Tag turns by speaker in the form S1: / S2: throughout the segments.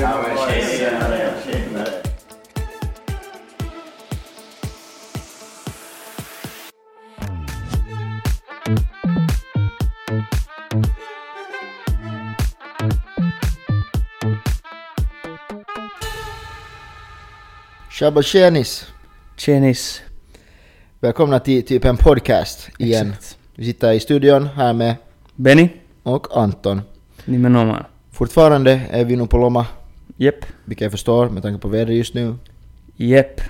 S1: Ja, men tjenare, tjenare.
S2: Tjabba tjenis!
S3: Tjenis.
S2: Välkomna till typ en podcast igen.
S3: Exakt.
S2: Vi sitter i studion här med
S3: Benny.
S2: och Anton.
S3: Nimenomaan.
S2: Fortfarande är vi nog på Lomma,
S3: Jepp.
S2: vilket jag förstår med tanke på vädret just nu.
S3: Jepp.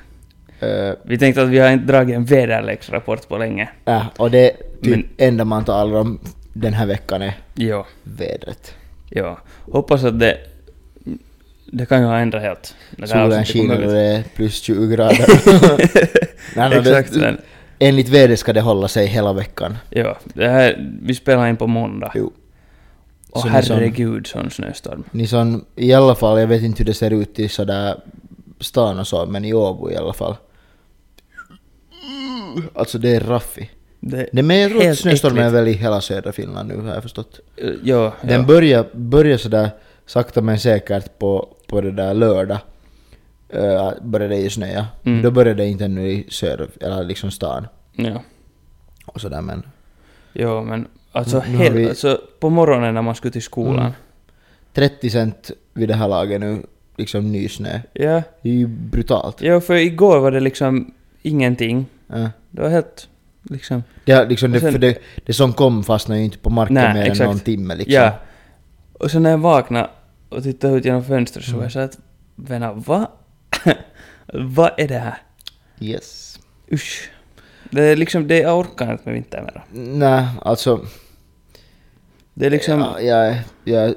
S2: Eh,
S3: Vi tänkte att vi har inte dragit en väderleksrapport på länge.
S2: ja, och det är typ
S3: Men-
S2: enda man talar om den här veckan är
S3: Jo.
S2: vädret.
S3: Jo. Hoppas att det... Det kan ju ha ändrat helt. när det här
S2: Solen
S3: avsnittet
S2: skiner
S3: kommer
S2: och
S3: ut.
S2: det är plus 20 grader. Nej, nej,
S3: Exakt.
S2: det,
S3: men-
S2: enligt vädret ska det hålla sig hela veckan.
S3: Jo. Det här, vi spelar in på måndag.
S2: Jo.
S3: Och
S2: Så ni som-
S3: herregud sån snöstorm.
S2: Ni som, i alla fall, jag vet inte hur det ser ut i sådär stan och så, men i Åbo i alla fall. Alltså det är raffi.
S3: Det,
S2: Det men jag tror att
S3: Helt
S2: snöstormen är
S3: äckligt.
S2: väl i hela södra Finland nu har jag förstått.
S3: eh, jo,
S2: Den
S3: jo.
S2: börjar, börjar sådär sakta men säkert på, på det där lördag. Uh, började det ju snöa.
S3: Mm.
S2: Då började det inte ännu i söder, eller liksom stan.
S3: Jo.
S2: Och sådär men.
S3: jo, men alltså,
S2: Nu- nu har
S3: helt,
S2: vi-
S3: alltså på morgonen när man skulle till skolan.
S2: Mm. 30 cent vid det här laget nu, liksom ny snö.
S3: Ja.
S2: Det är ju brutalt.
S3: Jo, för igår var det liksom ingenting.
S2: Ja.
S3: Det var helt liksom...
S2: Det, har liksom det,
S3: Och sen-
S2: för det, det som kom fastnade ju inte på marken
S3: Nej,
S2: mer än
S3: exakt.
S2: någon timme liksom.
S3: Ja. Och sen när jag vaknade och tittade ut genom fönstret så var jag så att vänner, vad? vad är det här?
S2: Yes.
S3: Usch. Det är liksom, det jag orkar inte med vintern mera.
S2: Nej, alltså.
S3: Det är liksom,
S2: Ja, jag, jag,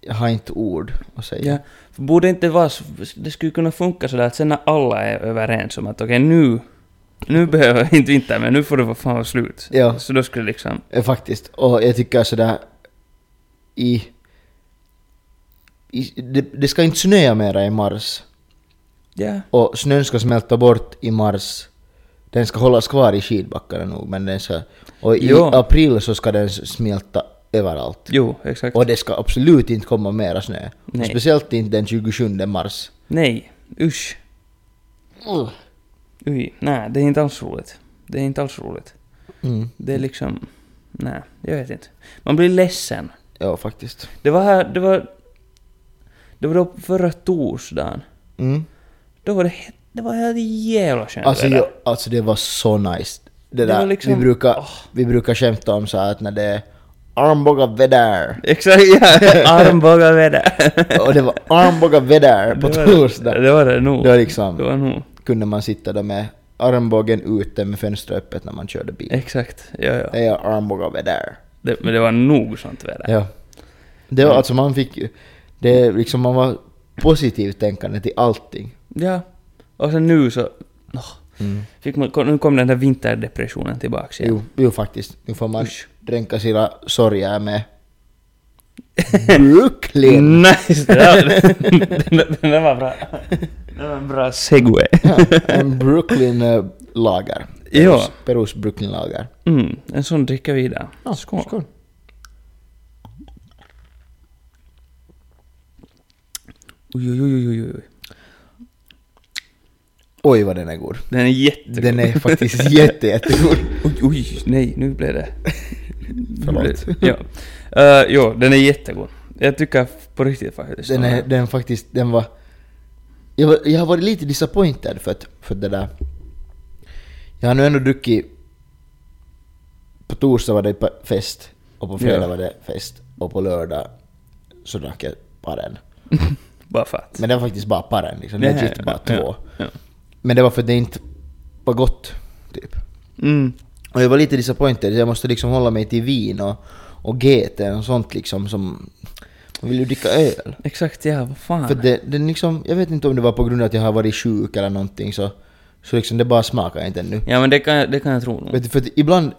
S2: jag har inte ord att säga.
S3: ja. För borde inte vara så, det skulle kunna funka sådär att sen när alla är överens om att okej nu, nu behöver jag inte vintern men nu får det vara fan vara slut.
S2: Ja.
S3: Så då skulle det liksom,
S2: Eh, Faktiskt. Och jag tycker sådär i... i det, det ska inte snöa mera i mars.
S3: ja.
S2: Och snön ska smälta bort i mars. Den ska hållas kvar i skidbackarna nog men den ska... Och i
S3: Jo.
S2: april så ska den s- smälta överallt.
S3: Jo, exakt.
S2: Och det ska absolut inte komma mera snö. Och
S3: Nej.
S2: speciellt inte den 27 mars.
S3: Nej, usch. Mm. Uj, nej, det är inte alls roligt. Det är inte alls roligt.
S2: Mm.
S3: Det är liksom... Nej, jag vet inte. Man blir ledsen.
S2: Ja, faktiskt.
S3: Det var här, det var... Det var då förra torsdagen.
S2: Mm.
S3: Då var det he- Det var helt jävla skönt
S2: Alltså,
S3: väder.
S2: jag, alltså det var så nice. Det
S3: Det
S2: där,
S3: var liksom-
S2: vi, brukar, vi brukar skämta om så här att när det är armbågaväder.
S3: Exakt, ja. Armbågarväder.
S2: Och det var armbågaväder på
S3: Det var det.
S2: torsdag.
S3: Det var det nog.
S2: Det var liksom-
S3: Det var nog.
S2: Kunde man sitta där med armbågen ute med fönstret öppet när man körde bil.
S3: Exakt. Ja, ja.
S2: Det är armbågaväder.
S3: Det, men det var nog sånt väder.
S2: Eh. Ja. Det var alltså man fick ju- det är liksom man var positivt tänkande till allting.
S3: Ja. Och sen nu så... åh, fick man, nu kom den där vinterdepressionen tillbaks igen.
S2: Jo, jo faktiskt. Nu får man
S3: Usch.
S2: dränka sina sorger med Brooklyn.
S3: Nice! Det där, den, där- den där var bra. Det var en bra segway.
S2: Ja, en Brooklyn-lager.
S3: Ja.
S2: Perus Brooklyn-lager.
S3: Mm, en sån dricker vi idag. Skål. Oj, oj, oj, oj, oj.
S2: Oj vad den är god.
S3: Den är jättegod.
S2: Den är faktiskt jätte, jättegod.
S3: Oj, oj, nej, nu blev det... Nu
S2: Förlåt.
S3: blev- ja. Eh, jo, den är jättegod. Jag tycker på riktigt faktiskt
S2: Den är den faktiskt, den var... Jag, var, jag har varit lite disappointed för att, för det där... Jag har nu ändå druckit... På torsdag var det pa- fest, och på fredag
S3: Ja.
S2: var det fest, och på lördag så drack jag paren.
S3: Bara för att.
S2: Men det var faktiskt bara paren liksom,
S3: Ja,
S2: legit
S3: ja,
S2: bara
S3: ja,
S2: två.
S3: ja.
S2: Men det var för att det inte var gott, typ.
S3: Mm.
S2: Och jag var lite disappointed, jag måste liksom hålla mig till vin och, och GT och sånt liksom som... Man vill ju dricka öl.
S3: Exakt, ja, vad fan.
S2: För det, den liksom, jag vet inte om det var på grund av att jag har varit sjuk eller någonting så... Så liksom det bara smakar inte ännu.
S3: Ja, men det kan, jag- det kan jag tro nog.
S2: Vet du, för att ibland...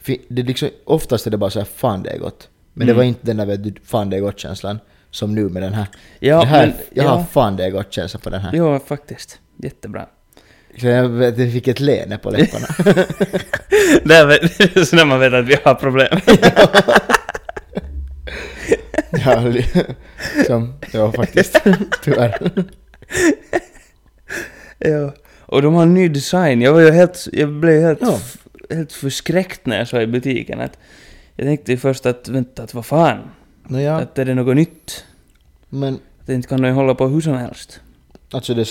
S2: fi- Det liksom, oftast är det bara så här, fan det är gott. Men
S3: Mm.
S2: det var inte den där vet du, fan det är gott-känslan som nu med den här.
S3: Ja,
S2: det här
S3: men-
S2: jag har
S3: ja.
S2: fan det är gott-känsla på den här.
S3: Jo, faktiskt. Jättebra.
S2: Så jag, vet- jag fick ett leende på läpparna.
S3: Det är väl- så när man vet att vi har problem.
S2: Ja, li- som, ja faktiskt. Tyvärr.
S3: Ja. Och de har en ny design. Jag var ju helt, jag blev helt,
S2: Ja.
S3: f- helt förskräckt när jag såg i butiken att jag tänkte ju först att vänta, att vad fan?
S2: No, ja,
S3: Att är det något nytt?
S2: men
S3: Att inte kan de ju hålla på hur som helst.
S2: alltså det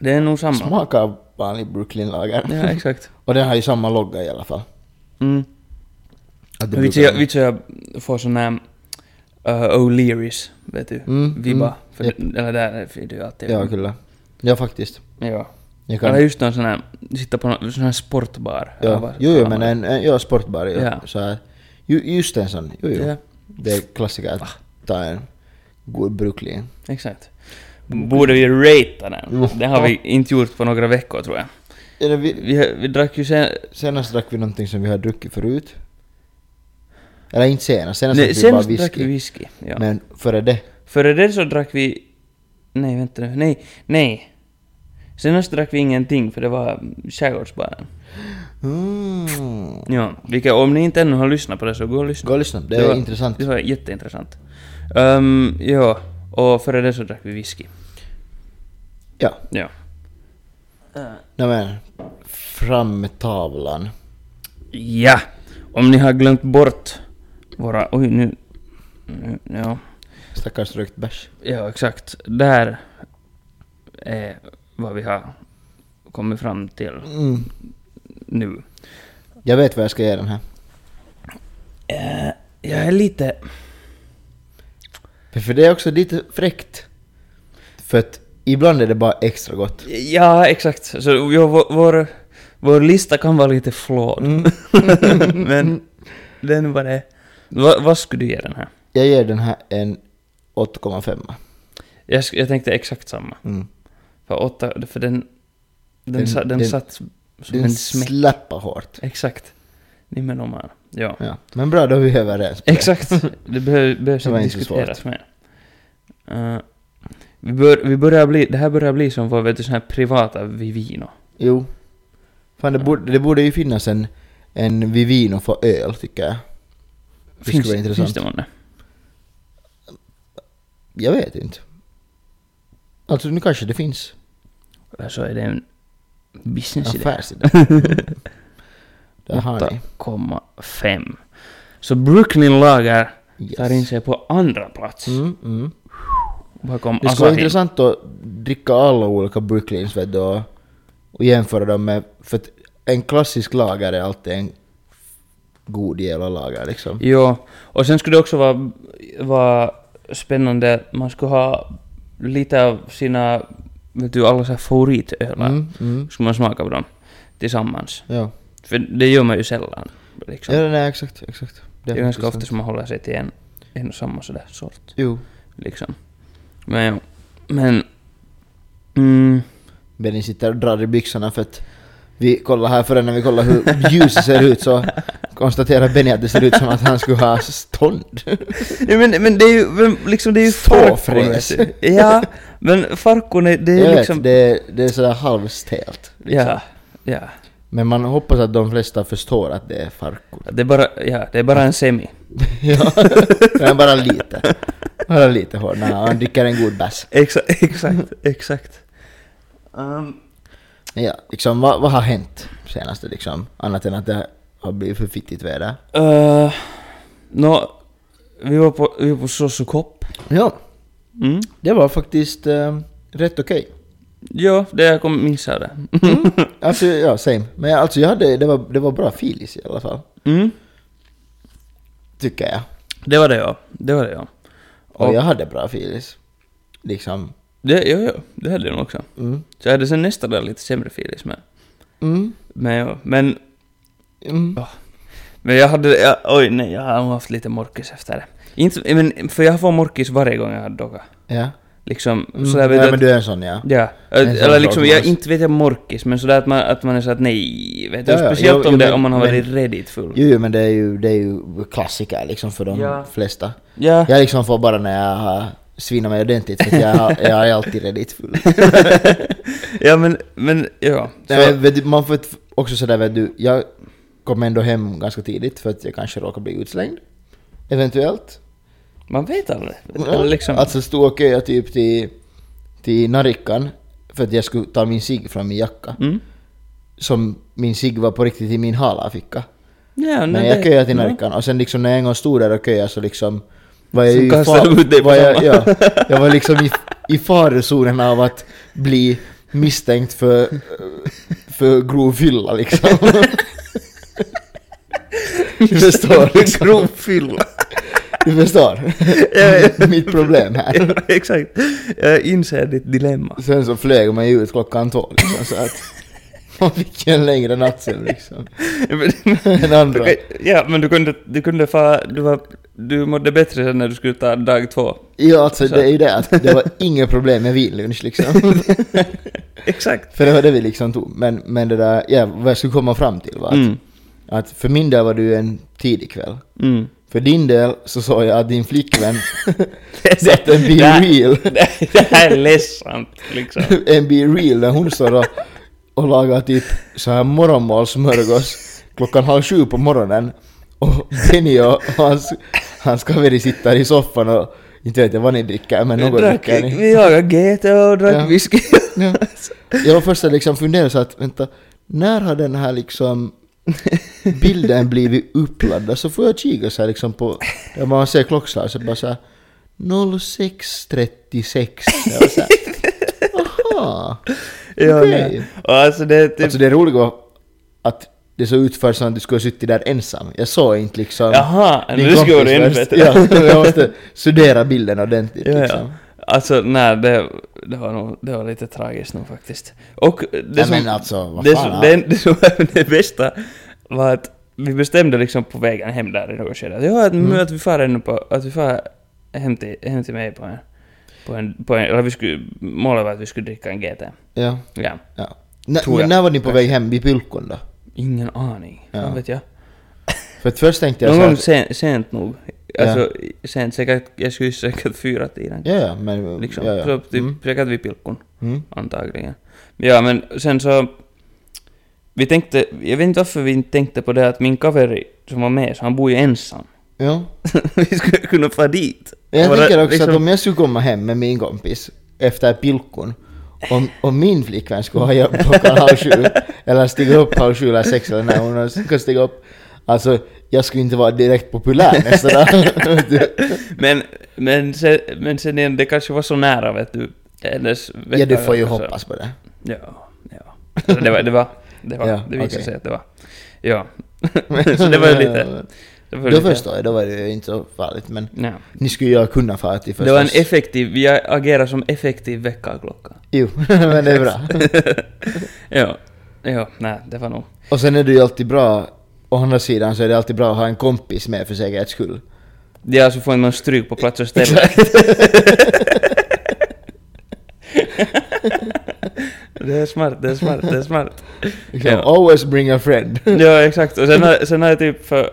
S3: Det är nog samma.
S2: smakar vanlig Brooklyn-lager.
S3: Ja, exakt.
S2: Och den har ju samma logga i alla fall.
S3: Mm.
S2: Att det
S3: Vits
S2: brukar-
S3: jag, vits jag får sån här uh, O'Learys, vet du?
S2: Mm,
S3: Vibba.
S2: mm.
S3: För,
S2: Japp.
S3: Eller där är det ju alltid.
S2: Ja, kyllä. Ja, faktiskt.
S3: Ja.
S2: Jag
S3: Eller
S2: kan...
S3: just någon sån här, sitta på någon sån här sportbar. Eller
S2: Ja,
S3: vad
S2: jo, jo,
S3: kallar
S2: men
S3: man
S2: en, en ja, sportbar. Jo,
S3: Ja.
S2: så här. Ju, just en sån. Jo, jo.
S3: Ja. Ah.
S2: Det är klassiker att ta en god Brooklyn.
S3: det? Exakt.
S2: Mm.
S3: Borde vi ratea den? Det har vi inte gjort på några veckor tror jag.
S2: Eller vi,
S3: Vi, vi drack ju sen...
S2: senast drack vi någonting som vi har druckit förut. Eller inte senast, senast
S3: Nej,
S2: drack vi bara
S3: senast drack vi
S2: whisky.
S3: whisky. Ja.
S2: Men före det,
S3: Före det så drack vi... Nej, vänta nu. Nej, nej. Senast drack vi ingenting för det var skärgårdsbaren.
S2: Mm.
S3: Ja, vilka, om ni inte ännu har lyssnat på det så gå och lyssna.
S2: Gå och lyssna, det är
S3: var,
S2: intressant.
S3: Det var jätteintressant. Ehm, ja, och före det så drack vi whisky.
S2: Ja,
S3: Ja.
S2: nej men. Fram med tavlan.
S3: Ja! Om ni har glömt bort våra... Oj, nu... nu ja.
S2: Stackars rökt bärs.
S3: ja, exakt. Där är vad vi har kommit fram till
S2: Mm.
S3: nu.
S2: Jag vet vad jag ska ge den här.
S3: Eh, jag är lite...
S2: För- För det är också lite fräckt. För att ibland är det bara extra gott.
S3: Ja, exakt. Så ja, vår, vår, vår lista kan vara lite flawed. Men den var det. Va, vad skulle du ge den här?
S2: Jag ger den här en 8,5.
S3: Jag, sk- jag tänkte exakt samma.
S2: Mm.
S3: För åtta, för den... Den,
S2: Den-
S3: sa, den,
S2: den-
S3: satt som
S2: Den
S3: en smäck.
S2: släpper hårt.
S3: Exakt. Nimenomaan. Ja.
S2: Ja. Men bra, då är vi överens. på det.
S3: Exakt. Det behöv, behövs
S2: Det var
S3: inte
S2: inte så
S3: diskuteras mer. Eh, vi, bör, vi börjar bli... Det här börjar bli som vår, vet du, sån här privata Vivino.
S2: Jo. Fan, det borde, det borde ju finnas en, en Vivino för öl, tycker jag. Det skulle vara
S3: Finns,
S2: intressant.
S3: finns det månne?
S2: Jag vet inte. Alltså, nu kanske det finns
S3: Eller så Alltså, är det en businessidé.
S2: affärsidé. Där har ni.
S3: 8,5. Så Brooklyn Lager tar in
S2: Yes.
S3: sig på andra plats
S2: Mm, mm.
S3: bakom
S2: Det skulle vara
S3: Asahi.
S2: intressant att dricka alla olika Brooklyns vet du, och- och jämföra dem med... För att en klassisk lager är alltid en god jävla lager liksom.
S3: Jo, och sen skulle det också vara, vara spännande att man skulle ha lite av sina, vet du, alla så här favoritölar.
S2: Mm, mm.
S3: Skulle man smaka på dem tillsammans.
S2: Ja.
S3: För det gör man ju sällan. Liksom.
S2: ja, nej exakt, exakt.
S3: det är
S2: faktiskt
S3: ganska ofta
S2: sant.
S3: som man håller sig till en, en och samma sådär sort.
S2: Jo.
S3: Liksom. Men, jo. men... Mm,
S2: Benny sitter och drar i byxorna för att vi kollar här förrän när vi kollar hur ljuset ser ut så konstaterar Benny att det ser ut som att han skulle ha stånd.
S3: Nej men, men det är ju, vem- liksom det är ju farkon.
S2: Ståfräs.
S3: vet du. Ja, men farkon är, det är
S2: Jag
S3: ju
S2: vet,
S3: liksom...
S2: det, är- det är sådär halvstelt. Liksom.
S3: ja, ja.
S2: Men man hoppas att de flesta förstår att det är farkor.
S3: Det är bara, ja, det är bara en semi.
S2: Ja, men bara lite. Bara lite hård. Nej, han dricker en god bärs.
S3: Exakt, exakt, exakt. Mm. Um,
S2: Ja, liksom vad, vad har hänt senaste liksom? Annat än att det har blivit för fittigt väder.
S3: uh, Nå, vi var på, vi var på Sossukopp.
S2: Ja,
S3: Mm.
S2: det var faktiskt eh, rätt okej.
S3: Ja, det jag kom missa det.
S2: Alltså, ja, same. Men alltså jag hade, det var, det var bra filis i alla fall.
S3: Mm.
S2: Tycker jag.
S3: Det var det ja, det var det ja.
S2: Och
S3: Och-
S2: jag hade bra filis. Liksom.
S3: Det, ja, ja, det hade jag nog också.
S2: Mm.
S3: Så jag hade sen nästa dag lite sämre filis men...
S2: Mm.
S3: Men, ja, men
S2: Mm.
S3: Men jag hade, jag, oj nej, jag har nog haft lite morkis efter det. Inte, men, för jag får morkis varje gång jag har dogga.
S2: Ja.
S3: Liksom,
S2: Mm.
S3: sådär vet
S2: ja,
S3: jag
S2: men
S3: att-
S2: du är en sån ja.
S3: Ja,
S2: är en
S3: eller
S2: sån
S3: eller
S2: sak
S3: liksom,
S2: man
S3: jag,
S2: har-
S3: inte vet jag morkis, men sådär att man, att man är såhär att nej, vet du.
S2: Ja, ja,
S3: speciellt
S2: jo,
S3: om,
S2: jo,
S3: det,
S2: men-
S3: om man har varit
S2: men-
S3: redigt full.
S2: Jo, jo, men det är ju, det är ju klassiker liksom för de
S3: Ja.
S2: flesta.
S3: ja,
S2: Jag liksom får bara när jag har svinat mig ordentligt för att jag, har- jag är alltid redigt full.
S3: ja men, men ja. Så,
S2: Nej, men vet du, man får ett- också sådär vet du, jag kom ändå hem ganska tidigt för att jag kanske råkar bli utslängd. Eventuellt.
S3: Man vet aldrig.
S2: Ja,
S3: Eller liksom...
S2: Alltså stod och köade typ till, till Narikan för att jag skulle ta min cigg från min jacka.
S3: Mm.
S2: Som min cigg var på riktigt i min halaficka.
S3: Ja,
S2: Men jag köade till Narikan och sen liksom när jag en gång stod där och köade så liksom var jag
S3: Så
S2: ju i
S3: kastade
S2: fa-
S3: du ut dig på
S2: var jag,
S3: samma.
S2: ja, jag var liksom i, i farozonen av att bli misstänkt för, för grov fylla liksom. du förstår liksom.
S3: Grov fylla.
S2: Du förstår. Mitt problem här.
S3: Ja, exakt. Jag inser ditt dilemma.
S2: Sen så flög man ju ut klockan tolv liksom, så att man fick ju en längre nattsömn liksom. Än andra.
S3: ja, men du kunde, du kunde fa, du, var, du mådde bättre sen när du skulle ta dag två.
S2: Ja, alltså det är ju det att det var inget problem med vinlunch liksom.
S3: Exakt.
S2: För det var det vi liksom tog. Men, men det där, ja, vad jag skulle komma fram till var att,
S3: Mm.
S2: att för min del var det ju en tidig kväll.
S3: Mm.
S2: För din del så såg jag att din flickvän satte en Be
S3: Det här-
S2: Real,
S3: Det, det här är ledsamt liksom.
S2: en Be Real där hon står och, och lagar typ så här morgonmålsmörgås klockan halv sju på morgonen. Och Benny och hans, hans kaveri sitter i soffan och inte vet jag vad ni dricker men något
S3: drack,
S2: dricker ni.
S3: vi jagade GT och drack
S2: Ja.
S3: whisky.
S2: Ja. Jag var först att liksom fundera så att vänta, när har den här liksom bilden blivit uppladdad? Så får jag kika så här liksom på, där man ser klockslag så bara så här 06.36. Jag var så här, Aha!
S3: Ja,
S2: Okej.
S3: men- och alltså det är typ...
S2: Alltså det roliga var att det såg ut för som att du skulle ha suttit där ensam. Jag såg inte liksom
S3: Jaha,
S2: din
S3: nu skulle
S2: kompis
S3: det ännu
S2: först.
S3: bättre.
S2: Ja, jag måste studera bilden ordentligt
S3: Ja,
S2: liksom.
S3: ja. Alltså nej, det, det, var nog, det var lite tragiskt nog faktiskt. Och det
S2: Nej,
S3: som,
S2: men alltså, vad
S3: det,
S2: fan,
S3: som, det, det som var det bästa var att vi bestämde liksom på vägen hem där i något skede att, ja, att, mm. att vi far ännu på, att vi far hem till, hem till mig på en, på en, på en eller vi skulle, målet var att vi skulle dricka en GT.
S2: Ja.
S3: Ja.
S2: Ja. Nä,
S3: Tror
S2: men
S3: jag.
S2: när var ni på väg hem? Vid pulkon då?
S3: Ingen aning,
S2: Ja.
S3: ja. vet jag.
S2: För att först tänkte jag
S3: Någon
S2: så
S3: gång
S2: här,
S3: sen, sent nog. Alltså sent, säkert, jag skulle gissa säkert fyra tiden.
S2: Ja, ja, men...
S3: Liksom.
S2: Ja, ja.
S3: Så typ,
S2: Mm.
S3: säkert vid pilkon.
S2: Mm.
S3: antagligen. Ja, men sen så... Vi tänkte, jag vet inte varför vi inte tänkte på det att min kaveri som var med, så han bor ju ensam.
S2: Ja.
S3: vi skulle kunna fara dit.
S2: Jag
S3: Bara
S2: tänker också
S3: liksom-
S2: att om jag skulle komma hem med min kompis efter pilkon om, om min flickvän skulle ha jobb klockan halv sju, eller stiga upp halv sju eller sex eller när hon ska stiga upp. Alltså, jag skulle inte vara direkt populär nästa dag. Vet du?
S3: Men, men, sen, men sen igen, det kanske var så nära vet du. Hennes
S2: ja, du får ju
S3: så-
S2: hoppas på det.
S3: Ja, ja. Så det var, det var, det, var,
S2: Ja,
S3: det visade
S2: okej.
S3: sig att det var. Ja. så det var ju lite... Det var
S2: Då
S3: lite-
S2: förstår jag, då var det ju inte så farligt men
S3: Ja.
S2: ni skulle ju ha kunnat fara till
S3: Det var en
S2: förstås.
S3: effektiv, vi agerar som effektiv väckarklocka.
S2: Jo, men det är bra.
S3: ja, ja, nej, det var nog...
S2: Och sen är det ju alltid bra, å andra sidan så är det alltid bra att ha en kompis med för säkerhets skull.
S3: Ja, så får man stryk på plats och ställe. det är smart, det är smart, det är smart.
S2: Liksom,
S3: Ja.
S2: Always bring a friend.
S3: Ja, exakt. Och sen har, sen har jag typ för...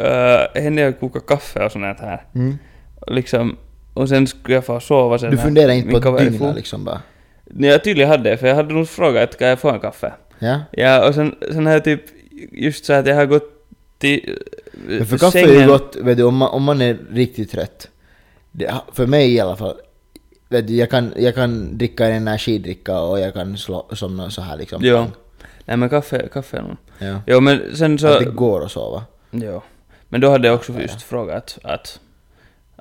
S3: Uh, henne jag kokar kaffe och sånt här.
S2: Mm.
S3: Liksom, och sen skulle jag få sova sen.
S2: Du
S3: när
S2: funderar inte
S3: min
S2: på att
S3: kaveri
S2: dygna
S3: for.
S2: liksom bara.
S3: Nej, jag tydligen hade det, för jag hade nog frågat att kan jag få en kaffe?
S2: Ja?
S3: Ja, och sen, sen har jag typ just så att jag har gått till eh,
S2: Men för kaffe är ju
S3: sängen.
S2: gott, vet du, om man, om man är riktigt trött. Det, för mig i alla fall. Vet du, jag, kan, jag kan dricka en energidricka och jag kan slå, somna så här liksom.
S3: Ja. Nej men kaffe, kaffe är nog...
S2: ja.
S3: Jo men sen så...
S2: Att det går att sova.
S3: Ja. Men då hade jag också just frågat att...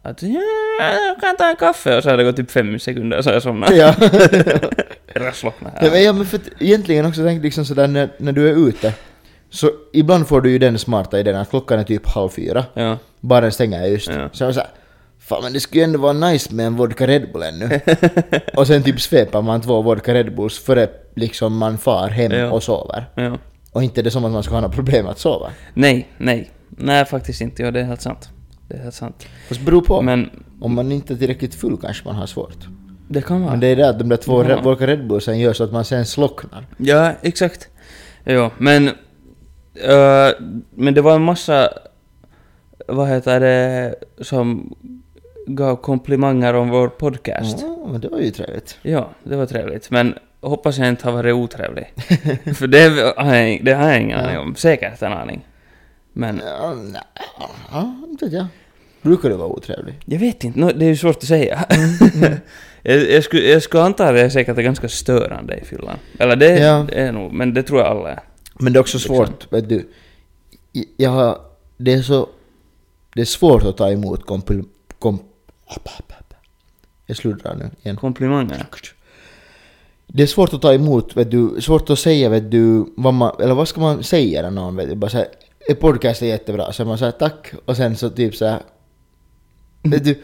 S3: Att ja, jag kan ta en kaffe och så hade det gått typ fem sekunder och så har jag somnat.
S2: Ja.
S3: Eller slocknat
S2: Ja. Men,
S3: här.
S2: ja, men för att egentligen också tänkt liksom sådär när, när du är ute. Så ibland får du ju den smarta idén att klockan är typ halv fyra.
S3: Ja.
S2: Baren stänger just.
S3: Ja.
S2: Så jag var såhär, fan men det skulle ju ändå vara nice med en vodka Red Bull ännu. och sen typ svepar man två vodka Red Bulls före liksom man far hem
S3: Ja.
S2: och sover.
S3: ja.
S2: Och inte är det som att man ska ha några problem att sova.
S3: Nej, nej. Nej faktiskt inte. Ja, det är helt sant. Det är helt sant.
S2: Fast det beror på.
S3: Men
S2: Om man inte är tillräckligt full kanske man har svårt.
S3: det kan vara...
S2: Men det är det att de där två
S3: Ja.
S2: re- vodka Red Bullsen gör så att man sen slocknar.
S3: Ja, exakt. Ja, men... eh, men det var en massa... Vad heter det? Som gav komplimanger om vår podcast.
S2: Ja, men det var ju trevligt.
S3: Ja, det var trevligt. Men hoppas jag inte har varit otrevlig. För det har jag, det har jag ingen aning om. Säkert en aning. Men
S2: Ja, nej. Ja, inte vet jag. Brukar du vara otrevlig?
S3: Jag vet inte, nå, det är ju svårt att säga.
S2: Mm,
S3: jag, jag, skulle, jag skulle anta att jag säkert är ganska störande i fyllan. Eller det
S2: Ja.
S3: är nog, men det tror jag alla är.
S2: Men det är också svårt,
S3: Liksom.
S2: vet du. I- Jag har, det är så... Det är svårt att ta emot kompil... Kom, jag sluddrar nu igen.
S3: Komplimanger.
S2: Det är svårt att ta emot, vet du. Svårt att säga, vet du, vad man... Eller vad ska man säga till någon, vet du. Bara så här, "Er podcast är jättebra. Så man säger tack och sen så typ så här... Vet du.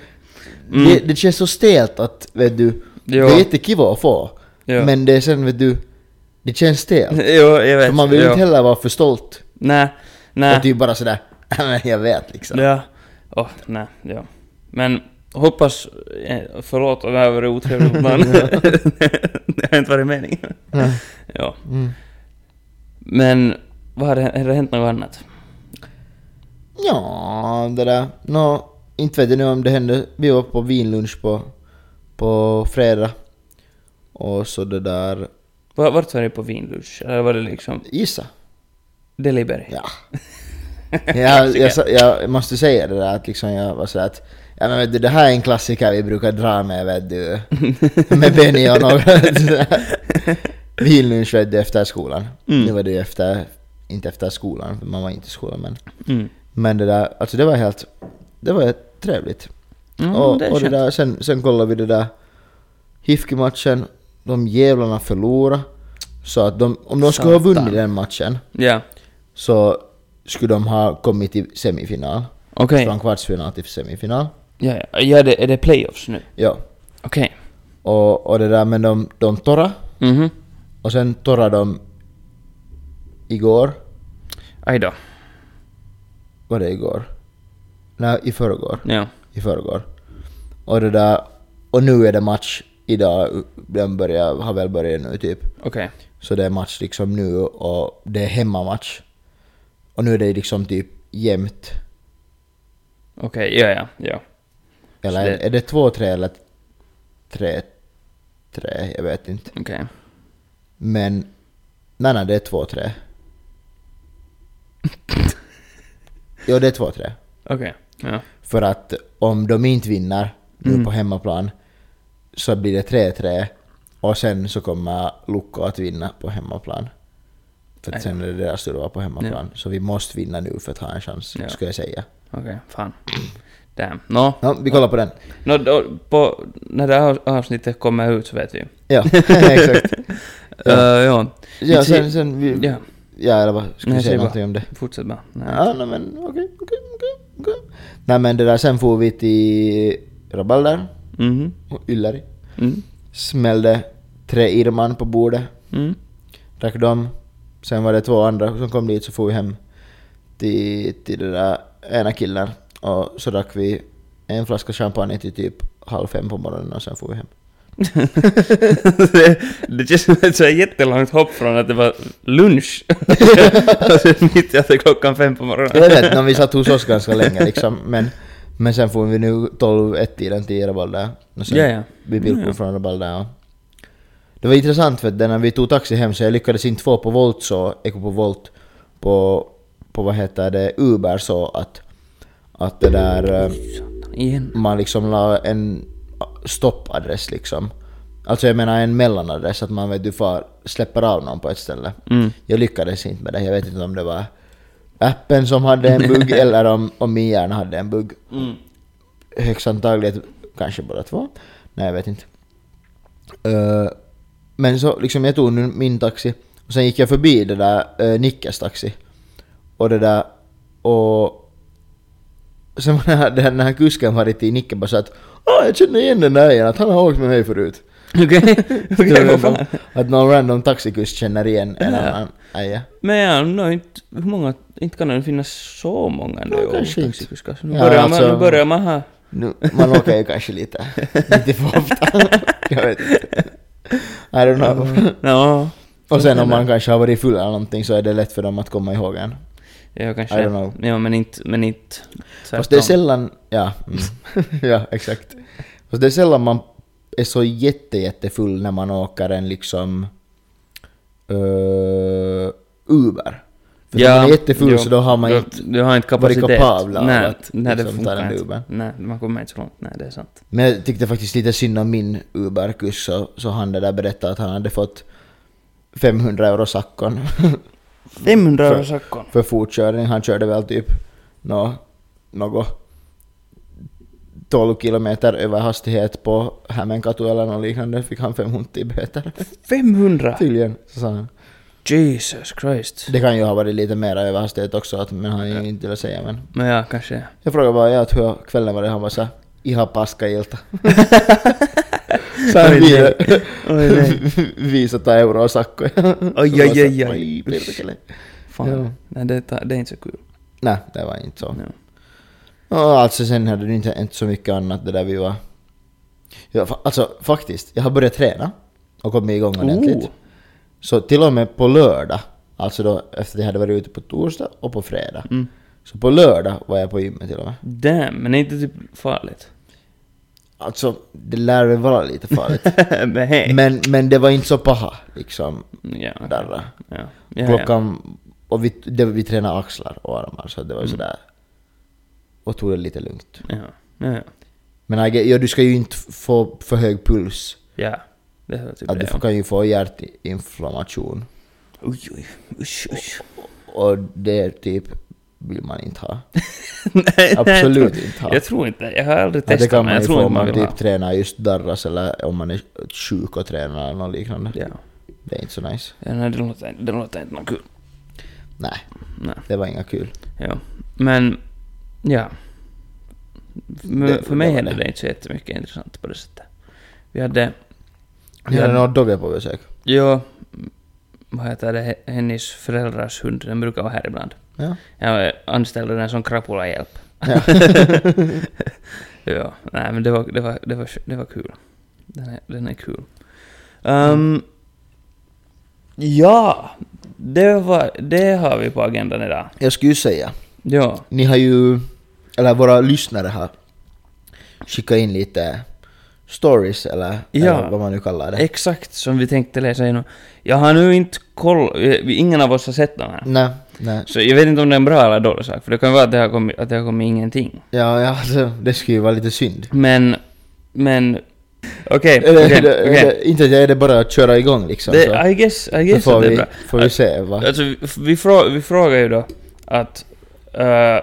S3: Mm.
S2: Det, det känns så stelt att, vet du.
S3: Jo.
S2: Det är jättekiva att få.
S3: Ja.
S2: Men det är sen, vet du. Det känns stelt.
S3: jo, jag
S2: För
S3: vet.
S2: man vill
S3: jo.
S2: inte heller vara för stolt.
S3: Nej,
S2: Äh.
S3: nej.
S2: Och typ bara sådär, "Men jag vet liksom.
S3: Ja. Åh, nej, ja. Men hoppas... eh, Förlåt om jag har varit otrevlig mot någon. det har inte varit meningen.
S2: Nej.
S3: Ja.
S2: Mm.
S3: Men, vad har det, har det hänt något annat?
S2: Ja, det där. Nå, inte vet jag nu om det hände. Vi var på vinlunch på, på fredag. Och så det där,
S3: Var- Vart var det på vinlunch? Eller var det liksom
S2: gissa.
S3: Deliberg?
S2: Ja. jag, jag, sa- jag måste säga det där att liksom jag var sådär att Ja men vet du, det här är en klassiker vi brukar dra med vet du. Med Benny och några sådär. Vinlunch vet du efter skolan. Nu var det ju efter, inte efter skolan, för man var inte i skolan men.
S3: Mm.
S2: Men det där, alltså det var helt, det var helt trevligt.
S3: Mm,
S2: och
S3: det är
S2: och det
S3: skönt.
S2: där, sen, sen kollade vi det där HIFK-matchen, de jävlarna förlorade. Så att de, om de skulle ha
S3: Satan.
S2: vunnit den matchen
S3: Ja.
S2: så skulle de ha kommit till semifinal.
S3: Okej.
S2: Från kvartsfinal till semifinal.
S3: Ja, ja. ja det, är det playoffs nu?
S2: Ja.
S3: Okej.
S2: Och, och det där, men de, de torra
S3: Mhm.
S2: Och sen torrade de igår.
S3: Aj då.
S2: Var det igår? Nej, i förrgår.
S3: Ja.
S2: i förrgår. Och det där, och nu är det match idag, den börjar, har väl börjat nu typ.
S3: Okej.
S2: Så det är match liksom nu och det är hemmamatch. Och nu är det liksom typ jämnt.
S3: Okej, ja, ja, ja.
S2: Eller
S3: Så
S2: är,
S3: det-
S2: är det 2-3 eller 3-3? Jag vet inte.
S3: Okej.
S2: Men, nej nej det är 2-3. jo det är 2-3.
S3: Okej. Ja.
S2: För att om de inte vinner nu
S3: Mm.
S2: på hemmaplan så blir det 3-3 och sen så kommer Lukko att vinna på hemmaplan. För att sen är det deras tur att vara på hemmaplan. Så vi måste vinna nu för att ha en chans,
S3: Ja.
S2: skulle jag säga.
S3: Okej, fan. Damn. Nå,
S2: Ja, vi kollar på den.
S3: nå, då, på, när det här avsnittet kommer ut så vet vi.
S2: Ja, exakt.
S3: Ja. ja.
S2: Ja,
S3: Vi ser-
S2: sen, sen vi...
S3: ja.
S2: Ja, eller vad? Ska vi
S3: Nej, säg
S2: säga
S3: bara.
S2: någonting om det?
S3: Fortsätt bara. Nej.
S2: Ja, nej men okej, okej, okej, okej. Nej men det där, sen får vi till Rabalder
S3: Mhm.
S2: och Ylläri.
S3: Mm.
S2: Smällde tre Irman på bordet.
S3: Mm.
S2: drack dem. Sen var det två andra som kom dit så for vi hem till, till den där ena killen. Och så drack vi en flaska champagne till typ halv fem på morgonen och sen for vi hem.
S3: det, det känns som ett så här jättelångt hopp från att det var lunch. och sen mitt i att det är klockan fem på morgonen.
S2: Jag vet när vi satt hos oss ganska länge liksom. Men, men sen for vi nu 12-1-tiden till Rabalda. Och sen
S3: Ja, ja.
S2: vi bilkor
S3: Ja, ja.
S2: från Rabalda. Och... Det var intressant för att när vi tog taxi hem så jag lyckades inte få på Volt så, Eko på Volt, på, på vad heter det, Uber så att, att det där... eh,
S3: Satan, igen.
S2: man liksom la en stoppadress liksom. Alltså jag menar en mellanadress, att man vet du far, släpper av någon på ett ställe.
S3: Mm.
S2: Jag lyckades inte med det, jag vet inte om det var appen som hade en bugg eller om, om min hjärna hade en bugg.
S3: Mm.
S2: Högst antagligen kanske båda två. Nej, jag vet inte. Eh, men så liksom jag tog nu min taxi och sen gick jag förbi det där uh, Nickes taxi. Och det där och... Sen var den här, den här kusken varit i Nicke bara så att Åh, jag känner igen den där igen, att han har åkt med mig förut.
S3: Okej,
S2: Det
S3: okej,
S2: var
S3: vad
S2: bara
S3: fan.
S2: att någon random taxikusk känner igen en
S3: Ja.
S2: annan aja.
S3: Men ja, no, inte, hur många, inte kan det finnas så många ändå
S2: No,
S3: i Åbo
S2: kanske inte.
S3: taxikuskar, så Nu
S2: Ja,
S3: börjar man,
S2: alltså-
S3: nu börjar man ha...
S2: Nu, man åker ju kanske lite, lite för ofta. jag vet inte. I don't know.
S3: Ja,
S2: Och sen om man kanske har varit full eller någonting så är det lätt för dem att komma ihåg en.
S3: ja kanske.
S2: I don't know.
S3: Ja, men inte, men inte
S2: Fast det är
S3: tvärtom.
S2: sällan... Ja, mm. ja exakt. Fast det är sällan man är så jätte, jättefull när man åker en liksom... eh, Uber. För när man är jätteful så då har man
S3: då,
S2: inte...
S3: Du har inte
S2: varit
S3: kapacitet.
S2: kapabel av
S3: nej,
S2: att
S3: nej, det
S2: liksom ta den
S3: funkar
S2: Ubern.
S3: inte. Nej, man kommer inte så långt. Nej, det är sant.
S2: Men jag tyckte faktiskt lite synd om min Uber-kurs så, så han det där berättade att han hade fått 500 euro sackon
S3: 500
S2: För-
S3: euro sackon.
S2: för fortkörning. Han körde väl typ nå något 12 kilometer över hastighet på Hämeenkatu eller något liknande fick han 500 i böter.
S3: 500?
S2: Tydligen, så sa han.
S3: Jesus Christ.
S2: Det kan ju ha varit lite mera över hastighet också, att, men han är inte till att säga. Men
S3: Men ja, kanske.
S2: jag frågade bara ja, att hur kvällen var det, han var såhär ihan paska ilta. så han
S3: Oj,
S2: vi,
S3: nej. Oj nej.
S2: 500 euroa sakkoja.
S3: Oj, oj, oj, oj.
S2: Oj, perkele.
S3: Fan.
S2: Ja.
S3: Nej, det, tar- det är inte så kul.
S2: Nej, det var inte så.
S3: Ja.
S2: Ja, alltså sen hade det inte, inte så mycket annat det där vi var... Ja, fa- alltså faktiskt, jag har börjat träna och kommit igång ordentligt.
S3: Oh.
S2: Så till och med på lördag, alltså då efter att jag hade varit ute på torsdag och på fredag.
S3: Mm.
S2: Så på lördag var jag på gymmet till och med.
S3: Damn, men är inte typ farligt?
S2: Alltså, det lär väl vara lite farligt.
S3: men hej.
S2: men, men det var inte så paha liksom.
S3: Ja, okej.
S2: Där,
S3: ja. ja, ja.
S2: Klockan... Och vi, det, vi tränade axlar och armar så det var ju
S3: Mm.
S2: sådär... Och tog det lite lugnt.
S3: Ja, ja, ja.
S2: Men Agge, ja, du ska ju inte f- få för hög puls.
S3: ja. det hör typ
S2: Att
S3: det.
S2: du
S3: ja.
S2: kan ju få hjärtinflammation.
S3: Oj, oj, usch, usch.
S2: Och det typ vill man inte ha.
S3: Nej,
S2: Absolut
S3: jag tror,
S2: inte ha.
S3: Jag tror inte, jag har aldrig
S2: Ja, det
S3: testat
S2: kan
S3: men
S2: man
S3: jag
S2: ju
S3: tror
S2: få
S3: inte
S2: om man
S3: man vill
S2: typ
S3: ha.
S2: tränar just darras eller om man är sjuk och tränar eller något liknande.
S3: Ja.
S2: Det är inte så nice.
S3: Ja, nej, det låter, det låter inte något kul.
S2: Nej,
S3: Nej,
S2: det var inga kul.
S3: ja. Men, ja. Men
S2: Det-
S3: för mig
S2: det var
S3: hände
S2: det.
S3: det inte så jättemycket intressant på det sättet. Vi hade,
S2: Vi
S3: Ja.
S2: hade några dovja på besök.
S3: ja, vad heter det, he- hennes föräldrars hund, den brukar vara här ibland.
S2: Ja.
S3: Jag anställde den som krapulahjälp.
S2: Ja.
S3: ja, nej men det var, det var, det var, det var kul. Den är, den är kul. Ehm, Ja, det, var, det har vi på agendan idag.
S2: Jag skulle ju säga,
S3: Ja,
S2: ni har ju, eller våra lyssnare har skickat in lite stories eller,
S3: Ja.
S2: eller vad man nu kallar det.
S3: exakt som vi tänkte läsa igenom. Jag har nu inte koll, vi- ingen av oss har sett den här.
S2: Nej, nej.
S3: Så jag vet inte om det är en bra eller dålig sak, för det kan vara att det har kommit, att det har kommit ingenting.
S2: Ja, ja alltså, det skulle ju vara lite synd.
S3: Men, men... Okej,
S2: Eller,
S3: okej,
S2: eller-
S3: okej.
S2: eller- Inte att jag är det bara att köra igång liksom. så.
S3: Det- I guess, I guess
S2: så får
S3: att det är
S2: vi,
S3: bra.
S2: får vi se va?
S3: Alltså, vi, vi, frå, vi frågade ju då att... eh,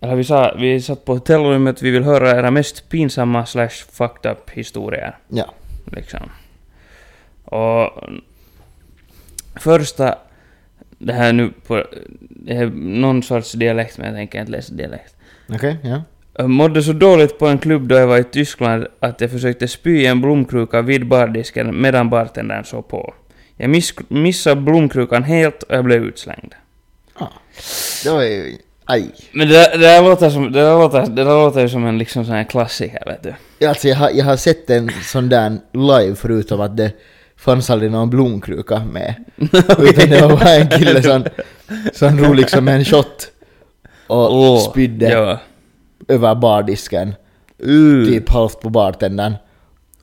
S3: eller vi, sa, vi satt på hotellrummet, vi vill höra era mest pinsamma slash fucked up historier.
S2: Ja.
S3: Liksom. Och... Första... Det här nu på... Det här, någon sorts dialekt, men jag tänker inte läsa dialekt.
S2: Okej, ja.
S3: Jag Äh, mådde så dåligt på en klubb då jag var i Tyskland att jag försökte spy i en blomkruka vid bardisken medan bartendern såg på. Jag miss missade blomkrukan helt och jag blev utslängd.
S2: Ah. Det var ju... Aj.
S3: Men det, där- det där låter som, det där låter, det där låter ju som en liksom sån här klassiker vet du.
S2: Ja, Alltså jag har, jag har sett en sån där live förutom att det fanns aldrig någon blomkruka med. Utan det var bara en kille som, som drog liksom en shot och
S3: Åh,
S2: spydde
S3: Ja.
S2: över bardisken.
S3: Uh.
S2: Typ halvt på bartendern.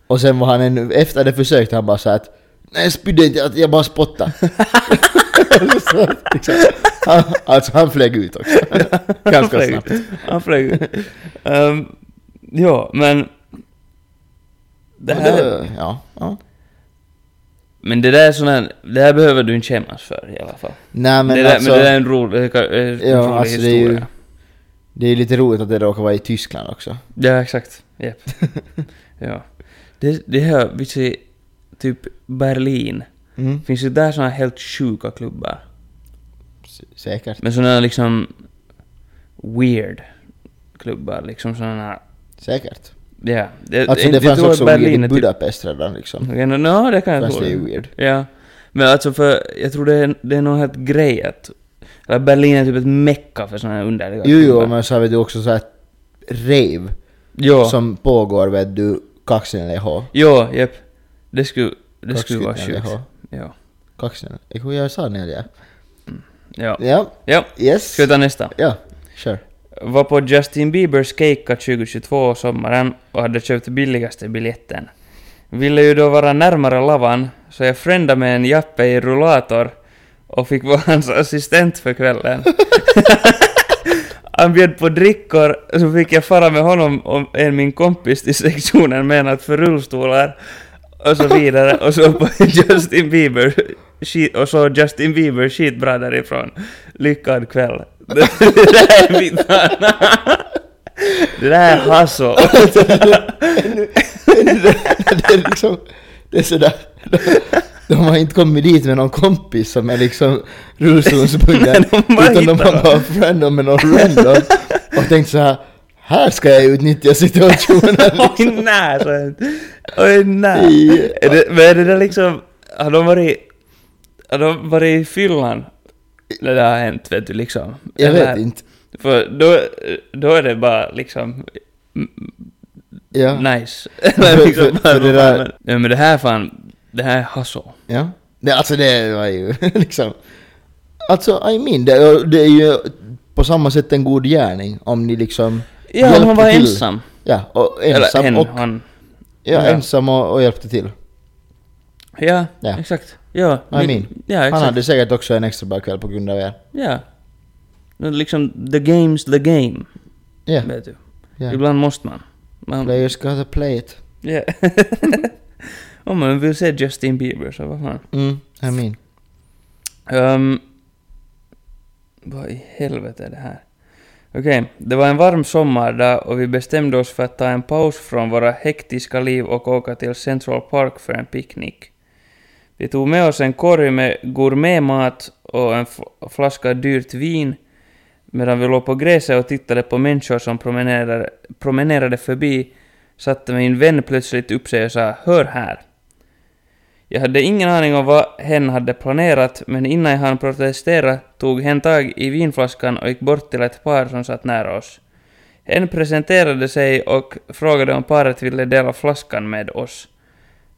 S2: Och sen var han en, efter det försökte han bara så här att Nej jag spydde inte, jag- jag bara spottade. så, liksom, han, alltså han flög ut också.
S3: Han
S2: Ganska
S3: flög
S2: snabbt.
S3: ut. Han flög ut. Ehm, Ja, men... Det
S2: Men
S3: här,
S2: det- Ja, ja.
S3: men det där är sån här, det här behöver du inte skämmas för i alla fall.
S2: Nej men
S3: det där,
S2: alltså,
S3: men det där är en rolig, en rolig
S2: Ja, alltså det är ju-
S3: historia.
S2: det är lite roligt att det råkar vara i Tyskland också.
S3: Ja, exakt. Japp. ja. Det, det här, vi ser typ Berlin.
S2: Mm.
S3: Finns det där såna helt sjuka klubbar?
S2: S- Säkert.
S3: Men såna liksom weird klubbar, liksom såna...
S2: Säkert.
S3: Ja. Det,
S2: Alltså det
S3: jag
S2: fanns
S3: tror att
S2: också weird i
S3: är typ- Mm.
S2: Budapest redan liksom.
S3: Okej, nå, nå, det kan jag
S2: Fast
S3: tro.
S2: det är ju weird.
S3: Ja. Men alltså för, jag tror det är, det är någon helt grej att... Eller Berlin är typ ett mecka för såna här underliga
S2: Jo, jo,
S3: klubbar.
S2: men så har vi det också så här rave
S3: Jo.
S2: som pågår vet du, kaxen eller H.
S3: Jo, japp. Det skulle, det
S2: Kaxen
S3: skulle vara
S2: eller
S3: sjukt.
S2: H.
S3: Ja.
S2: Kaxen. Jag kommer göra så när jag...
S3: Ja.
S2: Ja,
S3: Ja,
S2: yes.
S3: ska vi ta nästa?
S2: Ja, sure.
S3: Var på Justin Biebers Keikka 2022 sommaren och hade köpt billigaste biljetten. Ville ju då vara närmare lavan, så jag friendade med en jappe i rullator och fick vara hans assistent för kvällen. Han bjöd på drickor, så fick jag fara med honom och en min kompis till sektionen menat för rullstolar och så vidare och så på Justin Bieber skit, och så Justin Bieber skitbra därifrån. Lyckad kväll. Det där är mitt Det där är hustle.
S2: det är liksom, det är sådär. De, de har inte kommit dit med någon kompis som är liksom rullstolsbunden.
S3: Nej, de bara
S2: utan de
S3: hittar
S2: har bara random med någon random. Oh, Och tänkt så här, här ska jag utnyttja situationen.
S3: Oj nej, sa jag. Oj nej.
S2: I-
S3: Är det, men är det där liksom, har de varit, har de varit i fyllan? Det där har hänt vet du liksom.
S2: Jag vet
S3: Eller-
S2: inte.
S3: För då, då är det bara liksom
S2: Ja.
S3: nice. Eller liksom
S2: för-
S3: bara,
S2: för det där-
S3: men- Nej men det här är fan, det här är hustle.
S2: Ja. Det, alltså det var ju liksom... Alltså I mean, det, det är ju på samma sätt en god gärning om ni liksom
S3: Ja,
S2: hjälpte
S3: hon var
S2: till.
S3: ensam.
S2: Ja, och
S3: Eller
S2: ensam
S3: hen,
S2: och...
S3: han.
S2: Ja,
S3: ja.
S2: ensam och, och hjälpte till.
S3: Ja,
S2: Ja.
S3: exakt. Ja,
S2: I
S3: min-
S2: mean,
S3: ja,
S2: han
S3: exakt.
S2: hade säkert också en extra bra kväll på grund av er.
S3: Ja. Men No, Liksom, the game's the game.
S2: Ja,
S3: Vet du.
S2: ja.
S3: Ibland måste man. man
S2: Players gotta play it.
S3: Ja. Om man vill se Justin Bieber så vad fan.
S2: Mm, I mean.
S3: Ehm, vad i helvete är det här? Okej, det var en varm sommardag och vi bestämde oss för att ta en paus från våra hektiska liv och åka till Central Park för en picknick. Vi tog med oss en korg med gourmetmat och en f- flaska dyrt vin medan vi låg på gräset och tittade på människor som promenerade, promenerade förbi satte min vän plötsligt upp sig och sa ”Hör här”. Jag hade ingen aning om vad hen hade planerat, men innan han protesterade tog hen tag i vinflaskan och gick bort till ett par som satt nära oss. Hen presenterade sig och frågade om paret ville dela flaskan med oss.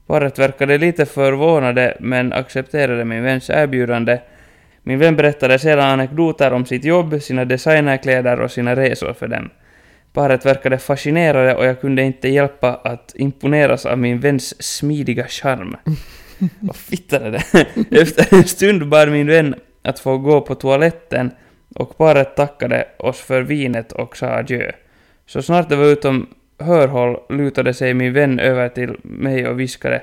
S3: Paret verkade lite förvånade, men accepterade min väns erbjudande. Min vän berättade sedan anekdoter om sitt jobb, sina designerkläder och sina resor för dem. Paret verkade fascinerade och jag kunde inte hjälpa att imponeras av min väns smidiga charm. Vad fittar det där? Efter en stund bad min vän att få gå på toaletten och paret tackade oss för vinet och sa adjö. Så snart det var utom hörhåll lutade sig min vän över till mig och viskade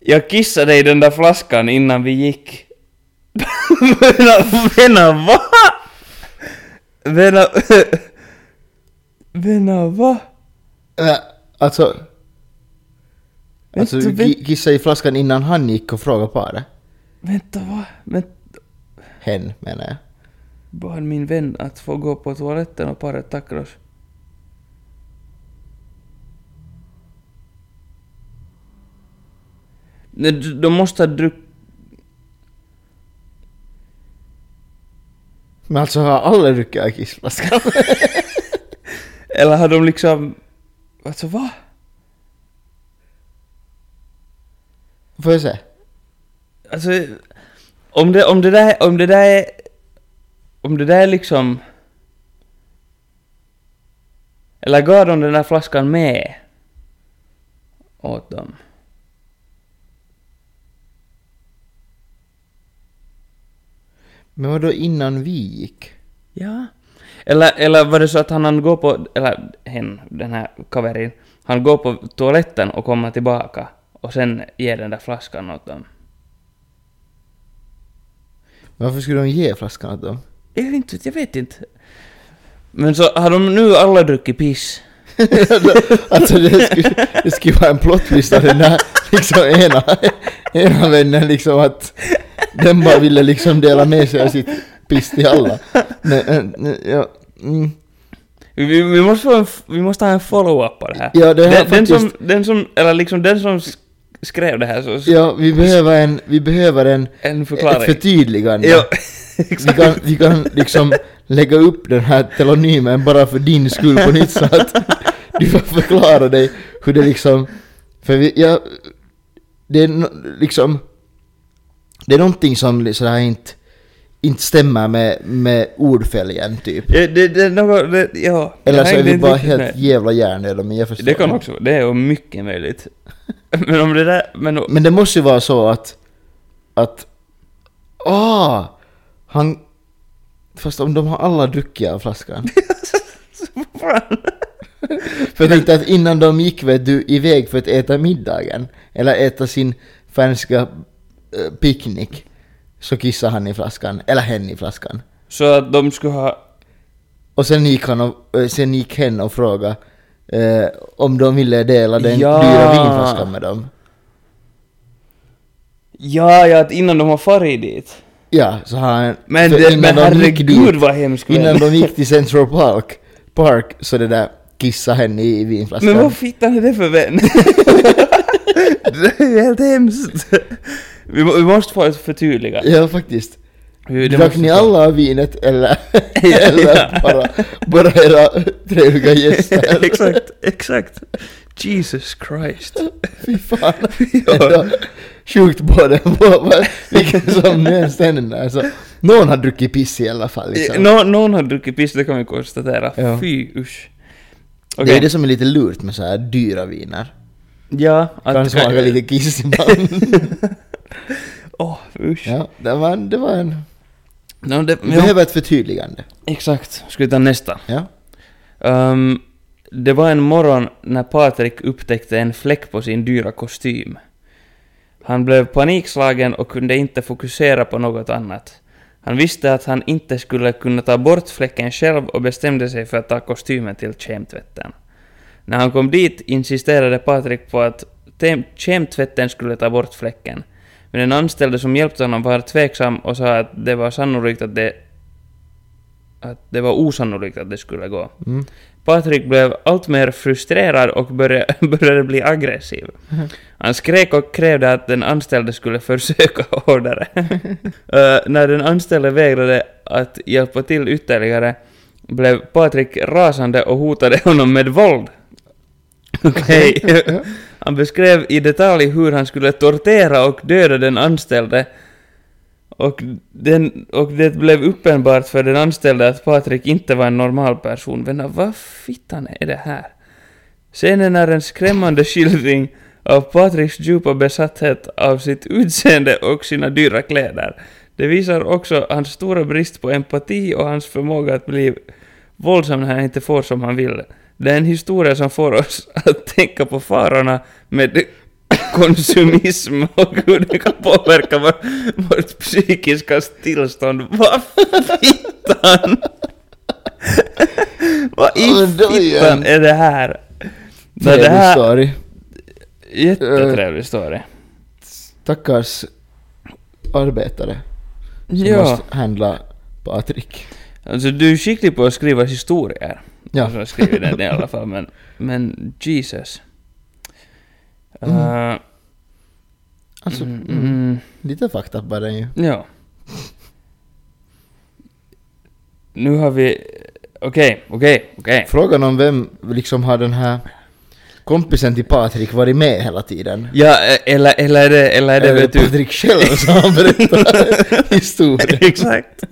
S3: Jag kissade i den där flaskan innan vi gick. Vänner, vänner, va? Vänner... Vänner, va?
S2: Äh, alltså... Alltså
S3: Vänta,
S2: ki- kissa i flaskan innan han gick och frågade paret.
S3: Vänta, va? Vänta.
S2: Hen menar jag.
S3: bad min vän att få gå på toaletten och paret tackade oss. Nej, d- De måste ha druckit...
S2: Men alltså har alla druckit av kissflaskan?
S3: Eller har de liksom... Alltså va?
S2: Får jag se?
S3: Alltså... Om det, om det där... Om det där är... Om det där är liksom... Eller gav de den där flaskan med? Åt dem.
S2: Men vadå innan vi gick?
S3: Ja. Eller, eller var det så att han, han går på, eller hen, den här kaverin, han går på toaletten och kommer tillbaka och sen ger den där flaskan åt dem?
S2: Varför skulle de ge flaskan åt dem?
S3: Jag vet inte, jag vet inte. Men så har de nu alla druckit piss?
S2: alltså det skulle, det skulle vara en plottvist av den där liksom ena, ena vännen liksom att den bara ville liksom dela med sig av sitt piss till alla. Men, eh, nej, ja, mm,
S3: Vi, vi, måste, få en, f- vi måste ha en follow-up på det här.
S2: Ja, det här
S3: den, den, som,
S2: faktiskt-
S3: den som, eller liksom den som sk- skrev det här så...
S2: ja, vi behöver en, vi behöver en,
S3: En förklaring.
S2: ett förtydligande.
S3: Ja,
S2: Vi kan, vi kan liksom lägga upp den här telonymen bara för din skull på nytt så att du får förklara dig hur det liksom... För vi, jag... Det är no- liksom... Det är någonting som sådär inte, inte stämmer med, med ordfälgen typ.
S3: Ja, Eh, det, det, är något, det, ja.
S2: Eller
S3: Jag
S2: så är
S3: hängde
S2: vi
S3: inte
S2: bara
S3: riktigt
S2: helt
S3: med.
S2: jävla hjärndöda men jag förstår.
S3: Det kan
S2: inte.
S3: också det är mycket möjligt. Men om det där, men,
S2: Men det måste ju vara så att... Att Ah! Han... Fast om de har alla druckit av flaskan.
S3: Fan.
S2: För jag tänkte att innan de gick vet du iväg för att äta middagen, eller äta sin färska eh, picknick, så kissade han i flaskan, eller hen i flaskan.
S3: Så att de skulle ha...
S2: Och sen gick, han och, eh, sen gick hen och frågade eh, om de ville dela den
S3: Ja.
S2: dyra vinflaskan med dem.
S3: Ja, ja, att innan de har farit dit.
S2: Ja, så han...
S3: Men,
S2: för
S3: det,
S2: innan
S3: men
S2: de gick
S3: herregud vad hemskt. väl.
S2: Innan de gick till Central Park, Park så det där kissade hen i vinflaskan.
S3: Men vad fittan är det för vän? det är ju helt hemskt. Vi, må, vi måste få ett förtydliga.
S2: Ja, faktiskt.
S3: Vi, det
S2: Drack
S3: måste
S2: ni
S3: få-
S2: alla av vinet eller,
S3: Ja.
S2: eller bara, bara era trevliga gäster?
S3: exakt, exakt. Jesus Christ.
S2: Fy fan.
S3: Ja.
S2: Ändå Sjukt både på vad- vilken som nu ens den är. Så, någon har druckit piss i alla fall. Liksom.
S3: Eh, Nå, någon har druckit piss, det kan vi konstatera.
S2: Ja.
S3: Fy usch.
S2: Det
S3: Okej.
S2: är det som är lite lurt med så här dyra viner.
S3: Ja,
S2: Kan smaka lite kiss ibland.
S3: Åh, usch.
S2: ja, det var, en- det var en...
S3: Oh, No, det,
S2: Vi
S3: ja,
S2: behöver ett förtydligande.
S3: Exakt. Ska vi ta nästa?
S2: Ja.
S3: Ehm, det var en morgon när Patrik upptäckte en fläck på sin dyra kostym. Han blev panikslagen och kunde inte fokusera på något annat. Han visste att han inte skulle kunna ta bort fläcken själv och bestämde sig för att ta kostymen till kemtvätten. När han kom dit insisterade Patrik på att te- kemtvätten skulle ta bort fläcken. Men den anställde som hjälpte honom var tveksam och sa att det var sannolikt att det... att det var osannolikt att det skulle gå.
S2: Mm.
S3: Patrik blev allt mer frustrerad och började, började bli aggressiv. Han skrek och krävde att den anställde skulle försöka hårdare. Eh, när den anställde vägrade att hjälpa till ytterligare blev Patrik rasande och hotade honom med våld. Okej. Han beskrev i detalj hur han skulle tortera och döda den anställde och, den, och det blev uppenbart för den anställde att Patrik inte var en normal person. Men vad fittan är det här? Scenen är en skrämmande skildring av Patriks djupa besatthet av sitt utseende och sina dyra kläder. Det visar också hans stora brist på empati och hans förmåga att bli våldsam när han inte får som han vill. Det är en historia som får oss att tänka på farorna med konsumism och hur det kan påverka vår, vårt psykiska tillstånd. Vad fittan! Vad
S2: Ja,
S3: i
S2: men då igen.
S3: fittan är det här? No, det
S2: Trevlig
S3: här...
S2: story.
S3: Jättetrevlig story.
S2: Stackars arbetare som
S3: Ja.
S2: måste handla Patrik.
S3: Alltså du är skicklig på att skriva historier.
S2: Ja.
S3: Så jag skriver den i alla fall, men, men Jesus. Uh,
S2: Alltså, mm,
S3: mm,
S2: lite fakta bara den ju.
S3: ja. Nu har vi... Okej, okej, okej.
S2: Frågan om vem liksom har den här kompisen till Patrik varit med hela tiden?
S3: Ja, e- eller, eller är det, eller är det,
S2: Eller
S3: vet du...
S2: Patrik själv som har berättat historien?
S3: Exakt.